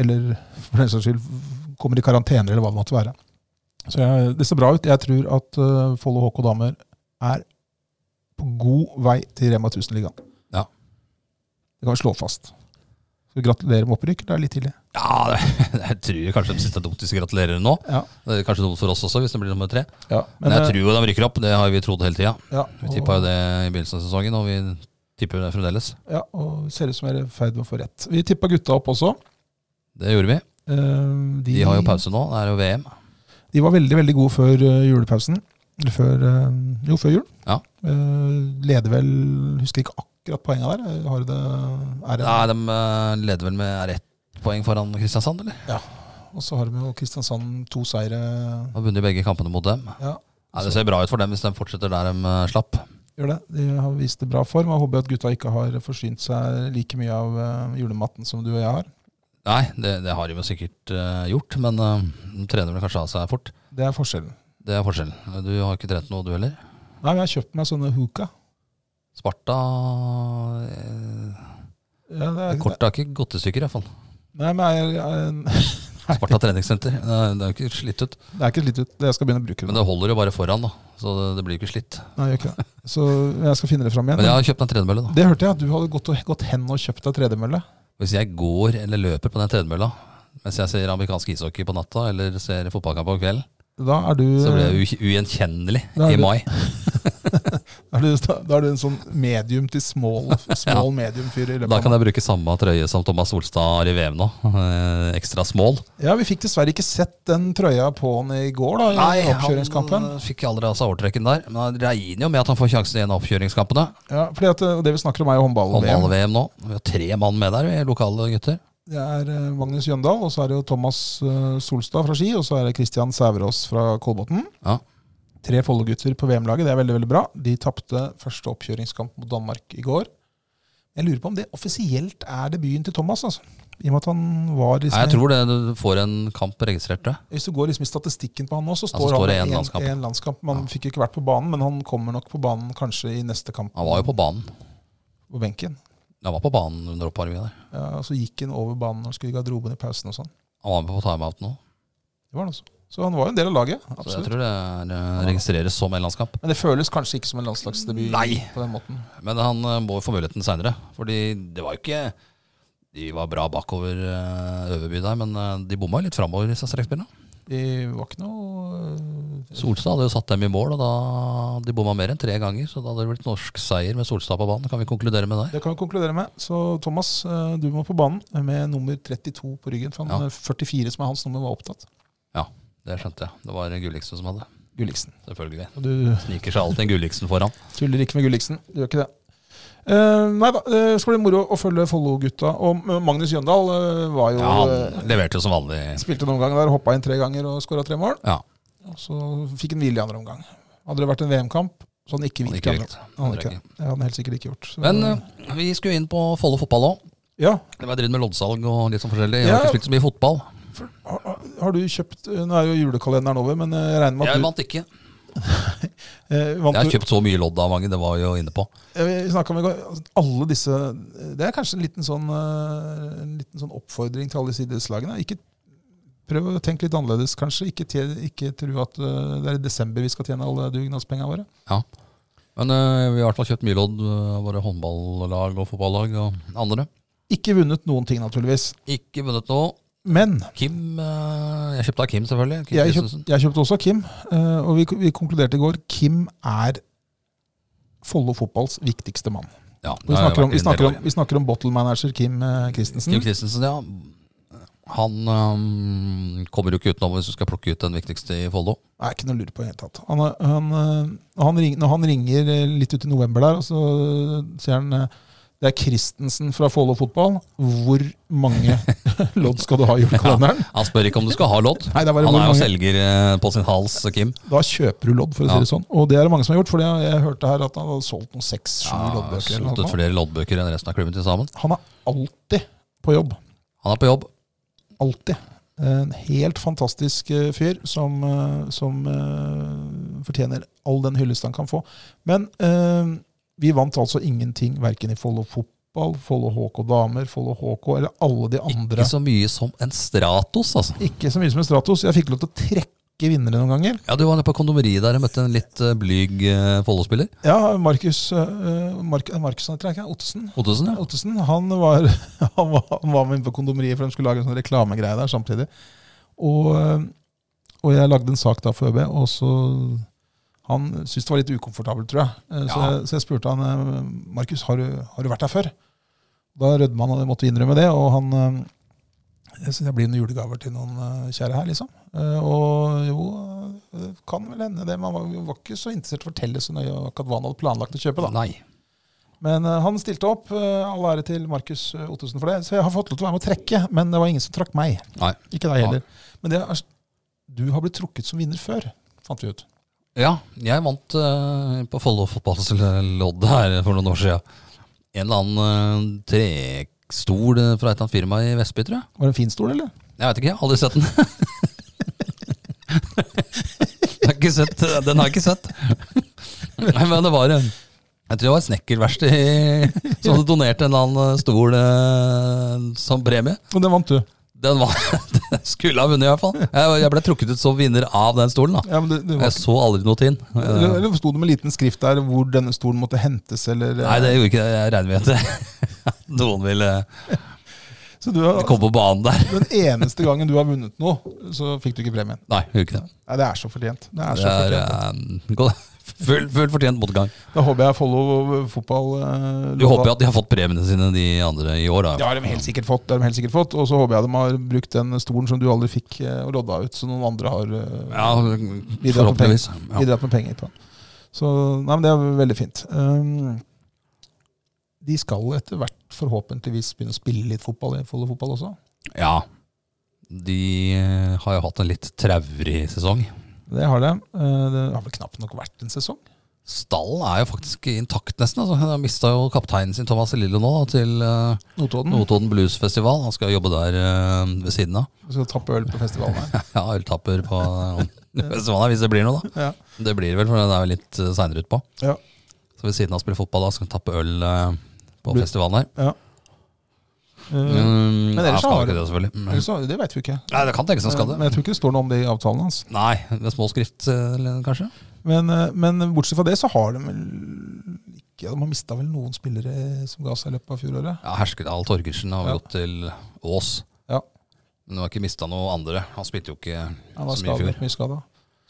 Speaker 2: Eller for den saks skyld kommer i karantene eller hva det måtte være. Så jeg, det ser bra ut. Jeg tror at eh, Follo HK Damer er på god vei til Rema 1000-ligaen.
Speaker 1: Ja.
Speaker 2: Det kan vi slå fast. Så gratulerer med opprykk. Det er litt tidlig.
Speaker 1: Ja, *laughs* det, jeg tror kanskje de siste dumt hvis vi gratulerer nå.
Speaker 2: Ja.
Speaker 1: Det er kanskje dumt for oss også, hvis det blir nummer tre.
Speaker 2: Ja,
Speaker 1: Men jeg tror jo de rykker opp, det har vi trodd hele tida.
Speaker 2: eh, ja,
Speaker 1: Vi
Speaker 2: og-
Speaker 1: tippa jo det i begynnelsen av sesongen, og vi tipper det fremdeles.
Speaker 2: Ja, og ser ut som jeg er i ferd med å få rett. Vi tippa gutta opp også.
Speaker 1: Det gjorde vi.
Speaker 2: Eh,
Speaker 1: De har jo pause nå, det er jo VM.
Speaker 2: De var veldig veldig gode før eh, julepausen. Eller før, eh, jo, før jul.
Speaker 1: Ja.
Speaker 2: Eh, leder vel Husker ikke akkurat poenga der. Eh, Har du det er det,
Speaker 1: Nei, de eh, leder vel med er det ett poeng foran Kristiansand, eller?
Speaker 2: Og så har de jo Kristiansand to seire.
Speaker 1: Har vunnet begge kampene mot dem.
Speaker 2: Ja,
Speaker 1: Nei, det ser bra ut for dem hvis de fortsetter der de eh, slapp.
Speaker 2: gjør det. De har vist det bra form. Jeg håper at gutta ikke har forsynt seg like mye av eh, julematten som du og jeg har.
Speaker 1: Nei, det, det har de jo sikkert eh, gjort, men eh, de trener vel kanskje av seg fort.
Speaker 2: Det er forskjellen.
Speaker 1: Det er forskjellen. Du har ikke trent noe, du heller?
Speaker 2: Nei, men jeg har kjøpt meg sånne hookah.
Speaker 1: Sparta eh,
Speaker 2: Ja, det er,
Speaker 1: Kortet har ikke gått i stykker, iallfall.
Speaker 2: Nei, men jeg, jeg,
Speaker 1: Sparta treningssenter. Det er- det er jo ikke slitt ut.
Speaker 2: *laughs* det er ikke slitt ut. Det Jeg skal begynne å bruke
Speaker 1: Men
Speaker 2: det.
Speaker 1: det holder jo bare foran, da. Så det, det blir jo ikke slitt.
Speaker 2: Nei, jeg gjør ikke det. Så jeg skal finne det fram igjen.
Speaker 1: Men jeg har kjøpt en tredemølle, da.
Speaker 2: Det hørte jeg at du hadde gått, og- gått hen og kjøpt deg tredemølle.
Speaker 1: Hvis jeg går eller løper på den tredemølla mens jeg ser amerikansk ishockey på natta eller ser fotballkamp på kvelden,
Speaker 2: Da er du,
Speaker 1: så blir jeg u- ugjenkjennelig
Speaker 2: Da er
Speaker 1: i
Speaker 2: du-
Speaker 1: mai.
Speaker 2: da er du, da er du en sånn medium til
Speaker 1: *laughs*
Speaker 2: small, small medium-fyr. i løpet
Speaker 1: Da
Speaker 2: av
Speaker 1: kan jeg bruke samme trøye som Thomas Olstad har i VM nå. *laughs* Eh, Ekstra small.
Speaker 2: Ja, Vi fikk dessverre ikke sett den trøya på han i går, da, i oppkjøringskampen.
Speaker 1: han eh, fikk aldri av seg overtrekken der. Men han regner jo med at han får sjansen i en av oppkjøringskampene.
Speaker 2: Ja, fordi at eh, Det vi snakker om, er jo håndball-VM.
Speaker 1: Håndball-VM nå. Vi har tre mann med der, vi lokale gutter.
Speaker 2: Det er eh, Magnus Jøndal, og så er det jo Thomas eh, Solstad fra Ski, og så er det Kristian Sæverås fra Kolbotn.
Speaker 1: Ja.
Speaker 2: Tre Follo-gutter på VM-laget, det er veldig veldig bra. De tapte første oppkjøringskamp mot Danmark i går. Jeg lurer på om det offisielt er debuten til Thomas, altså. I og med at han var
Speaker 1: Nei,
Speaker 2: liksom,
Speaker 1: jeg tror det du får en kamp registrert, tror jeg.
Speaker 2: Hvis du går liksom i statistikken på han nå, så står,
Speaker 1: så Altså, står det
Speaker 2: han
Speaker 1: en
Speaker 2: i en
Speaker 1: landskamp.
Speaker 2: landskamp. En landskamp. Man fikk jo ikke vært på banen, men han kommer nok på banen kanskje i neste kamp.
Speaker 1: Han var jo på banen.
Speaker 2: på benken.
Speaker 1: Han var på banen under oppvarminga der.
Speaker 2: Ja, og så gikk han over banen og skulle i garderoben i pausen og sånn.
Speaker 1: Han var med på timeout nå.
Speaker 2: Det var han også. Så han var jo en del av laget.
Speaker 1: Så jeg
Speaker 2: absolutt.
Speaker 1: tror det er, eh, registreres som en landskamp.
Speaker 2: Men det føles kanskje ikke som en landslagsdebut
Speaker 1: Nei.
Speaker 2: på den måten.
Speaker 1: Men han eh, må jo få muligheten seinere. Fordi det var jo ikke De var bra bakover eh, Øverby der, men eh, de bomma jo litt framover i strekspillene.
Speaker 2: Det var ikke noe øh,
Speaker 1: Solstad hadde jo satt dem i mål, og da de bomma mer enn tre ganger. Så da hadde det blitt norsk seier med Solstad på banen, kan vi konkludere med der.
Speaker 2: Det kan vi konkludere med. Så Thomas, øh, du må på banen med nummer 32 på ryggen. For
Speaker 1: Ja.
Speaker 2: han eh, øh, 44 som er hans nummer, var opptatt.
Speaker 1: Ja, det skjønte jeg. Det var Gulliksen som hadde.
Speaker 2: Gulliksen.
Speaker 1: Selvfølgelig.
Speaker 2: Du
Speaker 1: Sniker seg alltid en Gulliksen foran.
Speaker 2: tuller ikke med Gulliksen. Du gjør ikke det. Eh, nei da, det skal bli moro å følge Follo-gutta. Og eh, Magnus Jøndal eh, var jo
Speaker 1: Ja,
Speaker 2: eh,
Speaker 1: han leverte jo som vanlig.
Speaker 2: Spilte noen ganger der, hoppa inn tre ganger og skåra tre mål.
Speaker 1: Ja,
Speaker 2: Og så fikk han hvile i andre omgang. Hadde det vært en VM-kamp, så hadde han ikke
Speaker 1: han
Speaker 2: hvilt.
Speaker 1: gikk
Speaker 2: i andre
Speaker 1: røykt.
Speaker 2: omgang. Han hadde ikke det. Det hadde han helt sikkert ikke gjort. Så-
Speaker 1: Men eh, vi skulle inn på Follo fotball òg.
Speaker 2: ja.
Speaker 1: Det var dritt med loddsalg og litt sånn forskjellig. Jeg har
Speaker 2: Ja.
Speaker 1: ikke spilt så mye fotball.
Speaker 2: Har, har du kjøpt eh, Nå er jo julekalenderen over, men eh, jeg regner med at
Speaker 1: Jeg
Speaker 2: du
Speaker 1: vant ikke.
Speaker 2: eh, vant
Speaker 1: Jeg har
Speaker 2: du-
Speaker 1: kjøpt så mye lodd av mange, det var jeg jo inne på.
Speaker 2: Eh, Vi snakket om i går, altså, alle disse Det er kanskje en liten sånn, eh, en liten sånn oppfordring til alle disse idrettslagene. Ikke Prøv å tenke litt annerledes, kanskje. Ikke, te, ikke tro at eh, det er i desember vi skal tjene alle dugnadspengene våre.
Speaker 1: Ja. Men eh, vi har i hvert fall kjøpt mye lodd eh, av våre håndballag og fotballag og andre.
Speaker 2: Ikke vunnet noen ting, naturligvis.
Speaker 1: Ikke vunnet noe.
Speaker 2: Men
Speaker 1: Kim eh, Jeg kjøpte av Kim, selvfølgelig. Kim
Speaker 2: jeg, kjøpt,
Speaker 1: Christensen.
Speaker 2: jeg kjøpte også Kim, eh, og vi, vi konkluderte i går. Kim er Follo fotballs viktigste mann.
Speaker 1: Ja,
Speaker 2: Vi
Speaker 1: det har jeg
Speaker 2: snakker om,
Speaker 1: vært en
Speaker 2: vi
Speaker 1: del
Speaker 2: snakker om,
Speaker 1: år.
Speaker 2: vi snakker om bottle manager Kim eh, Christensen.
Speaker 1: Kim Christensen, ja. Han øhm, kommer jo ikke utenom hvis du skal plukke ut den viktigste i Follo.
Speaker 2: Det er ikke noe å lure på i det hele tatt. Han, er- han, eh, han ring, når han ringer eh, litt ut i november der, og så eh, sier han eh, det er Christensen fra Follo fotball. Hvor
Speaker 1: *laughs*
Speaker 2: mange lodd skal du ha i julekalenderen?
Speaker 1: Han spør ikke om du skal ha lodd.
Speaker 2: Nei, det er bare
Speaker 1: han
Speaker 2: hvor
Speaker 1: er jo
Speaker 2: mange.
Speaker 1: selger eh, på sin hals, Kim.
Speaker 2: Da kjøper du lodd, for å
Speaker 1: Ja.
Speaker 2: si det sånn. Og det er det mange som har gjort. For jeg, jeg hørte her at han hadde solgt noen seks-sju
Speaker 1: Ja,
Speaker 2: loddbøker. eller noe
Speaker 1: Solgt
Speaker 2: sånt.
Speaker 1: ut flere loddbøker enn resten av klubben til sammen.
Speaker 2: Han er alltid på jobb.
Speaker 1: Han er på jobb.
Speaker 2: Alltid. En helt fantastisk eh, fyr som, eh, som eh, fortjener all den hyllest han kan få. Men eh, vi vant altså ingenting, verken i Follo fotball, Follo HK damer, Follo HK eller alle de andre.
Speaker 1: Ikke så mye som en Stratos, altså.
Speaker 2: Ikke så mye som i Stratos. Jeg fikk lov til å trekke vinnere noen ganger.
Speaker 1: Ja, Du var nede på kondomeriet der og møtte en litt eh, blyg eh, Follo-spiller.
Speaker 2: Ja, Markus eh, Mark, Markus han heter han ikke? Ottesen?
Speaker 1: Ottesen, ja.
Speaker 2: Ottesen han var, *laughs* han var, han var med inn på kondomeriet, for de skulle lage en sånn reklamegreie der samtidig. Og, eh, og jeg lagde en sak da for ØB, og så Han syntes det var litt ukomfortabelt, tror jeg. Eh, Så,
Speaker 1: Ja.
Speaker 2: jeg så jeg spurte han eh, Markus, har, du- har du vært her før? Da rødma han og jeg måtte innrømme det. Og han eh, Jeg syns jeg blir noen julegaver til noen eh, kjære her, liksom. Eh, Og jo, det kan vel hende det. Man var, var ikke så interessert i å fortelle så nøye akkurat hva han hadde planlagt å kjøpe, da.
Speaker 1: Nei.
Speaker 2: Men eh, han stilte opp. eh, all ære til Markus eh, Ottesen for det. Så jeg har fått lov til å være med å trekke, men det var ingen som trakk meg.
Speaker 1: Nei.
Speaker 2: Ikke deg heller. Men det er, du har blitt trukket som vinner før, fant vi ut.
Speaker 1: Ja, jeg vant eh, på Follo fotballodd her for noen år siden. En eller annen eh, trestol eh, fra et eller annet firma i Vestby, tror jeg.
Speaker 2: Var det en fin stol, eller?
Speaker 1: Jeg veit ikke, jeg har aldri sett den. *laughs* jeg har ikke sett, eh, den har jeg ikke sett. *laughs* Nei, men det var eh, Jeg tror det var et snekkerverksted i- *laughs* som donerte en eller annen stol eh, som premie.
Speaker 2: Og den vant du.
Speaker 1: Den var, *laughs* den skulle ha vunnet, i hvert fall. Jeg, jeg ble trukket ut som vinner av den stolen. da.
Speaker 2: Ja, men det, det var
Speaker 1: Jeg så aldri noe til den.
Speaker 2: ikke,
Speaker 1: Eh,
Speaker 2: eller sto det med liten skrift der hvor denne stolen måtte hentes, eller eh,
Speaker 1: Nei, det gjorde ikke det. Jeg regner med at *laughs* det- noen ville
Speaker 2: Så du har,
Speaker 1: komme på banen der.
Speaker 2: den eneste gangen du har vunnet noe, så fikk du ikke premien.
Speaker 1: Nei, gjorde ikke det.
Speaker 2: Nei, det er så fortjent. Det er
Speaker 1: Det
Speaker 2: så
Speaker 1: er
Speaker 2: fortjent.
Speaker 1: eh, god- *laughs* full, full fortjent motgang.
Speaker 2: Da håper jeg Follo fotball eh,
Speaker 1: Du håper jo at de har fått premiene sine, de andre, i år.
Speaker 2: Det
Speaker 1: da.
Speaker 2: har de helt sikkert fått. det har de helt sikkert fått Og så håper jeg de har brukt den stolen som du aldri fikk, eh, og lodda ut, så noen andre har eh,
Speaker 1: Ja,
Speaker 2: bidratt, med penger,
Speaker 1: forhåpentligvis. Ja.
Speaker 2: bidratt med penger på den. Så nei, men det er veldig fint. Um, de skal etter hvert forhåpentligvis begynne å spille litt fotball i Follo fotball også.
Speaker 1: ja. De eh, har jo hatt en litt traurig sesong.
Speaker 2: Det har de. Eh, det har vel knapt nok vært en sesong.
Speaker 1: Stallen er jo faktisk intakt, nesten. Altså. De mista jo kapteinen sin, Thomas Lillo, nå til eh,
Speaker 2: Notodden.
Speaker 1: Notodden Bluesfestival. Han skal jobbe der eh, ved siden av.
Speaker 2: Vi skal tappe øl på
Speaker 1: *laughs*
Speaker 2: festivalen her.
Speaker 1: Ja, øltapper på *laughs* festivalen, hvis det blir noe, da.
Speaker 2: Ja.
Speaker 1: Det blir det vel, for det er jo litt eh, seinere utpå.
Speaker 2: Ja.
Speaker 1: Så ved siden av å spille fotball, da skal vi tappe øl eh, på
Speaker 2: Blir-
Speaker 1: festivalen her.
Speaker 2: Eh,
Speaker 1: Mm,
Speaker 2: ellers
Speaker 1: nei,
Speaker 2: så
Speaker 1: skal
Speaker 2: har
Speaker 1: ikke
Speaker 2: du-
Speaker 1: det, selvfølgelig.
Speaker 2: ellers så- det veit vi ikke.
Speaker 1: Nei, det kan tenkes han skal det.
Speaker 2: Men jeg tror ikke det står noe om det i avtalen hans.
Speaker 1: Nei, med små skrift, eh, eller kanskje?
Speaker 2: Men, eh, men bortsett fra det, så har de vel ikke De har mista vel noen spillere eh, som ga seg i løpet av fjoråret.
Speaker 1: Ja, Herskedal Torgersen har
Speaker 2: Ja.
Speaker 1: gått til Ås.
Speaker 2: Ja.
Speaker 1: Men du har ikke mista noe andre. Han spilte jo ikke
Speaker 2: Han var
Speaker 1: så mye i
Speaker 2: skadet,
Speaker 1: fjor.
Speaker 2: mye skada.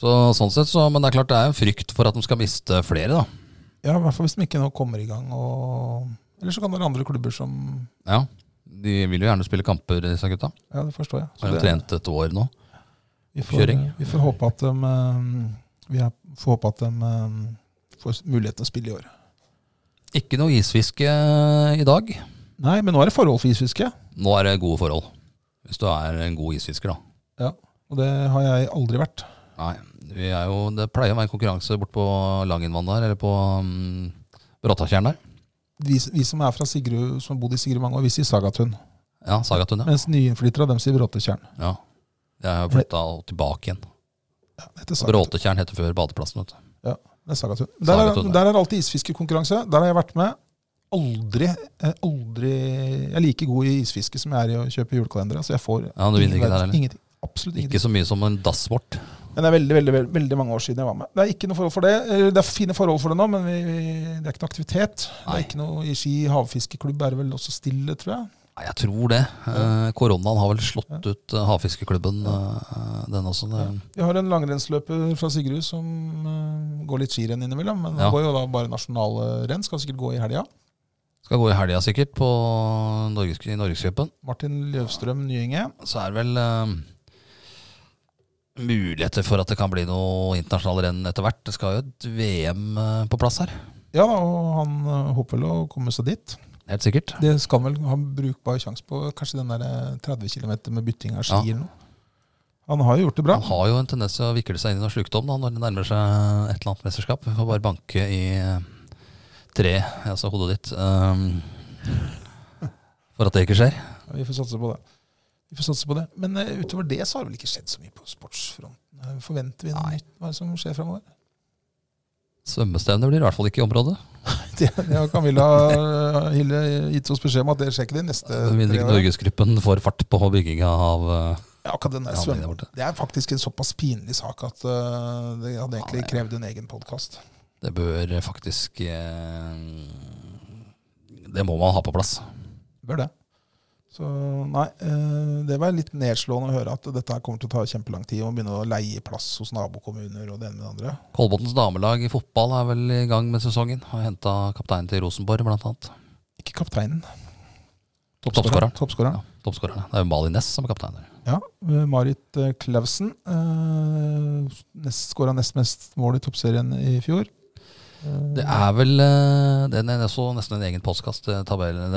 Speaker 1: Så, sånn sett, så, men det er klart det er en frykt for at de skal miste flere, da.
Speaker 2: Ja, I hvert fall hvis de ikke nå kommer i gang. Og, eller så kan det være andre klubber som
Speaker 1: Ja, De vil jo gjerne spille kamper, disse gutta.
Speaker 2: Ja, det forstår jeg. Så
Speaker 1: Har jo
Speaker 2: det-
Speaker 1: trent et år nå.
Speaker 2: vi, får,
Speaker 1: oppkjøring.
Speaker 2: vi får håpe at de eh, vi er- får håpe at de eh, får mulighet til å spille i år.
Speaker 1: Ikke noe isfiske eh, i dag.
Speaker 2: Nei, men nå er det forhold for isfiske.
Speaker 1: Nå er det gode forhold. Hvis du er en god isfisker, da.
Speaker 2: Ja. Og det har jeg aldri vært.
Speaker 1: Nei, vi er jo, det pleier å være konkurranse bort på Langenvann der, eller på um, Brattatjern der.
Speaker 2: Vi, vi som er fra Sigrud, som har bodd i Sigrud mange år, vi sier Sagatun.
Speaker 1: Ja, Sagatun, ja.
Speaker 2: Mens nyinnflyttere, dem sier Bråtetjern.
Speaker 1: ja. Jeg har flytta tilbake igjen.
Speaker 2: Ja, det heter Sagatun.
Speaker 1: Bråtetjern heter før badeplassen, vet du.
Speaker 2: Ja, det er Sagatun. Der, er,
Speaker 1: Sagatun, ja.
Speaker 2: der er det alltid isfiskekonkurranse. Der har jeg vært med. Aldri, eh, aldri Jeg er like god i isfiske som jeg er i å kjøpe julekalendere. Så jeg får
Speaker 1: Ja, du vinner ikke
Speaker 2: ingen
Speaker 1: der
Speaker 2: verdens-
Speaker 1: heller.
Speaker 2: ingenting. Absolutt
Speaker 1: Ikke
Speaker 2: ingenting.
Speaker 1: så mye som en dassvort.
Speaker 2: Men det er veldig, veldig, veldig, veldig mange år siden jeg var med. Det er ikke noe forhold for det. Eller, Det er fine forhold for det nå, men vi, vi, det er ikke noe aktivitet. Det
Speaker 1: Nei.
Speaker 2: er ikke noe i Ski havfiskeklubb er det vel også stille, tror jeg.
Speaker 1: Nei, jeg tror det. Eh, koronaen har vel slått ut eh, havfiskeklubben, eh, den også. Det,
Speaker 2: Vi har en langrennsløper fra Sigrud som eh, går litt skirenn innimellom. Men
Speaker 1: Ja.
Speaker 2: han går jo da bare nasjonale renn. Skal sikkert gå i helga.
Speaker 1: skal gå i helga sikkert, på Norges, i Norgescupen.
Speaker 2: Martin Løvstrøm Nyenge.
Speaker 1: så er det vel eh, muligheter for at det kan bli noe internasjonale renn etter hvert. Det skal jo et VM eh, på plass her,
Speaker 2: Ja da, og han eh, håper vel å komme seg dit.
Speaker 1: helt sikkert.
Speaker 2: Det skal han vel ha brukbar sjanse på. Kanskje den der eh, 30 km med bytting av ski
Speaker 1: Ja.
Speaker 2: eller noe. Han har jo gjort det bra.
Speaker 1: Han har jo en tendens til å vikle seg inn i noe sjukdom da, når det nærmer seg et eller annet mesterskap. Vi får bare banke i eh, tre, altså hodet ditt, eh, for at det ikke skjer.
Speaker 2: Ja, Vi får satse på det. Vi får satse på det. Men eh, utover det så har det vel ikke skjedd så mye på sportsfronten. Eh, Forventer vi noe
Speaker 1: Nei.
Speaker 2: nytt? Hva er det som skjer framover?
Speaker 1: Svømmestevne blir i hvert fall ikke i området.
Speaker 2: *laughs* Det, det har Camilla eh, Hille gitt oss beskjed om at Eh, det skjer ikke de neste
Speaker 1: Med mindre ikke
Speaker 2: årene.
Speaker 1: Norgesgruppen får fart på bygginga av eh,
Speaker 2: Ja, akkurat den der
Speaker 1: Ja,
Speaker 2: svømme-
Speaker 1: det er borte.
Speaker 2: Det er faktisk en såpass pinlig sak at eh, det hadde
Speaker 1: Ja,
Speaker 2: egentlig
Speaker 1: det-
Speaker 2: krevd en egen podkast.
Speaker 1: Det bør faktisk eh, Det må man ha på plass.
Speaker 2: Bør det. Så nei, eh, det var litt nedslående å høre at dette her kommer til å ta kjempelang tid. Og begynne å leie plass hos nabokommuner og det ene med det andre.
Speaker 1: Kolbotns damelag i fotball er vel i gang med sesongen. Har henta kapteinen til Rosenborg, blant annet.
Speaker 2: Ikke kapteinen.
Speaker 1: Toppskåreren.
Speaker 2: Toppskåreren.
Speaker 1: Ja, Toppskårerne. Det er jo Mali Næss som er kaptein der.
Speaker 2: Ja, eh, Marit eh, Clausen eh, skåra nest mest mål i toppserien i fjor. Eh,
Speaker 1: Det er vel eh, det er også nesten en egen postkast, det tabellen, eh,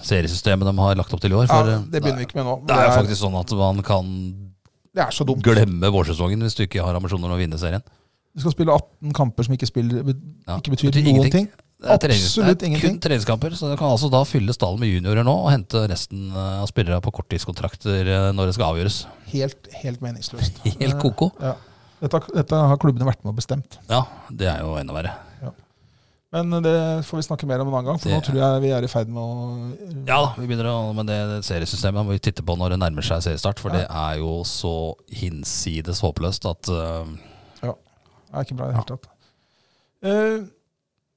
Speaker 1: det seriesystemet de har lagt opp til i år.
Speaker 2: ja,
Speaker 1: For eh,
Speaker 2: det begynner vi ikke med nå. men
Speaker 1: det er jo faktisk sånn at man kan
Speaker 2: det er så dumt.
Speaker 1: glemme vårsesongen hvis du ikke har ambisjoner om å vinne serien.
Speaker 2: Du skal spille 18 kamper som ikke, spiller,
Speaker 1: Ja,
Speaker 2: ikke betyr
Speaker 1: betyr
Speaker 2: noen
Speaker 1: ingenting.
Speaker 2: ting.
Speaker 1: Det er trening-
Speaker 2: Absolutt
Speaker 1: det er
Speaker 2: ingenting.
Speaker 1: Kun treningskamper. Så du kan altså da fylle stallen med juniorer nå og hente resten eh, av spillere på korttidskontrakter eh, når det skal avgjøres.
Speaker 2: Helt, helt meningsløst.
Speaker 1: *laughs* Helt koko.
Speaker 2: Eh, ja. dette, dette har klubbene vært med og bestemt.
Speaker 1: Ja, det er jo enda verre.
Speaker 2: Men eh, det får vi snakke mer om en annen gang, for nå
Speaker 1: Det-
Speaker 2: tror jeg vi er i ferd med å
Speaker 1: Ja da, vi begynner å, men det det seriesystemet må vi titte på når det nærmer seg seriestart, for
Speaker 2: Ja.
Speaker 1: det er jo så hinsides håpløst at eh,
Speaker 2: Det er ikke bra i det hele tatt. Eh,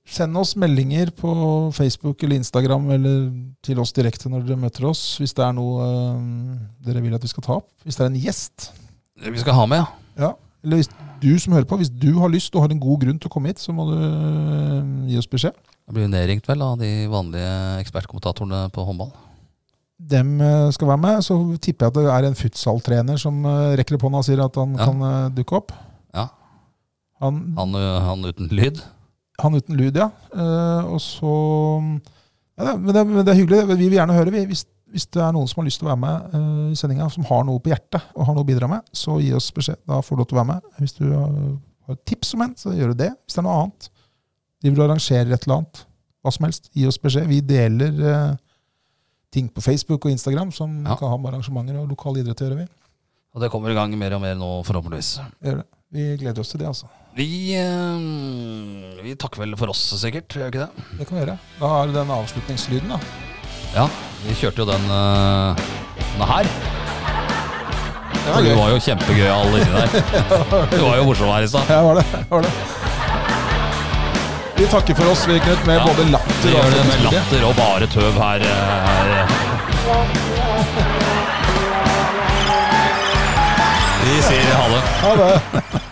Speaker 2: send oss meldinger på Facebook eller Instagram eller til oss direkte når dere møter oss, hvis det er noe eh, dere vil at vi skal ta opp. Hvis det er en gjest,
Speaker 1: vi skal ha med, ja.
Speaker 2: ja. eller hvis du som hører på, hvis du har lyst og har en god grunn til å komme hit, så må du eh, gi oss beskjed.
Speaker 1: Jeg blir jo nedringt vel av de vanlige ekspertkommentatorene på håndball.
Speaker 2: Dem eh, skal være med. Så tipper jeg at det er en futsaltrener som eh, rekker opp hånda og sier at han
Speaker 1: Ja.
Speaker 2: kan eh, dukke opp.
Speaker 1: Ja.
Speaker 2: Han,
Speaker 1: Han, ø, han uten lyd.
Speaker 2: Han uten lyd, ja. Eh, og så ja, det, er- men, det, er- men det er hyggelig. Vi vil gjerne høre. Vi, hvis, hvis det er noen som har lyst til å være med eh, i sendinga, som har noe på hjertet og har noe å bidra med, så gi oss beskjed. Da får du lov til å være med. Hvis du har har et tips om en, så gjør du det. Hvis det er noe annet, de vil arrangere et eller annet, hva som helst, gi oss beskjed. Vi deler eh, ting på Facebook og Instagram som
Speaker 1: Ja.
Speaker 2: kan ha med arrangementer og lokal idrett å gjøre. Vi.
Speaker 1: Og det kommer i gang mer og mer nå, forhåpentligvis.
Speaker 2: Vi gjør det. Vi gleder oss til det, altså.
Speaker 1: Vi, ø, vi takker vel for oss, sikkert. Gjør vi ikke det?
Speaker 2: Det kan vi gjøre. Da er det den avslutningslyden, da.
Speaker 1: Ja, vi kjørte jo den, ø, denne her.
Speaker 2: Det
Speaker 1: Du
Speaker 2: var gøy.
Speaker 1: var jo kjempegøy alle inni der. Du var jo morsom her i stad.
Speaker 2: Ja, det var det. det var det. Vi takker for oss, vi, Knut, med
Speaker 1: Ja,
Speaker 2: både
Speaker 1: Vi
Speaker 2: latter og
Speaker 1: gjør det med
Speaker 2: avslutningsbilde.
Speaker 1: latter og bare tøv her. ø, her. Vi sier ha det.
Speaker 2: Ha det.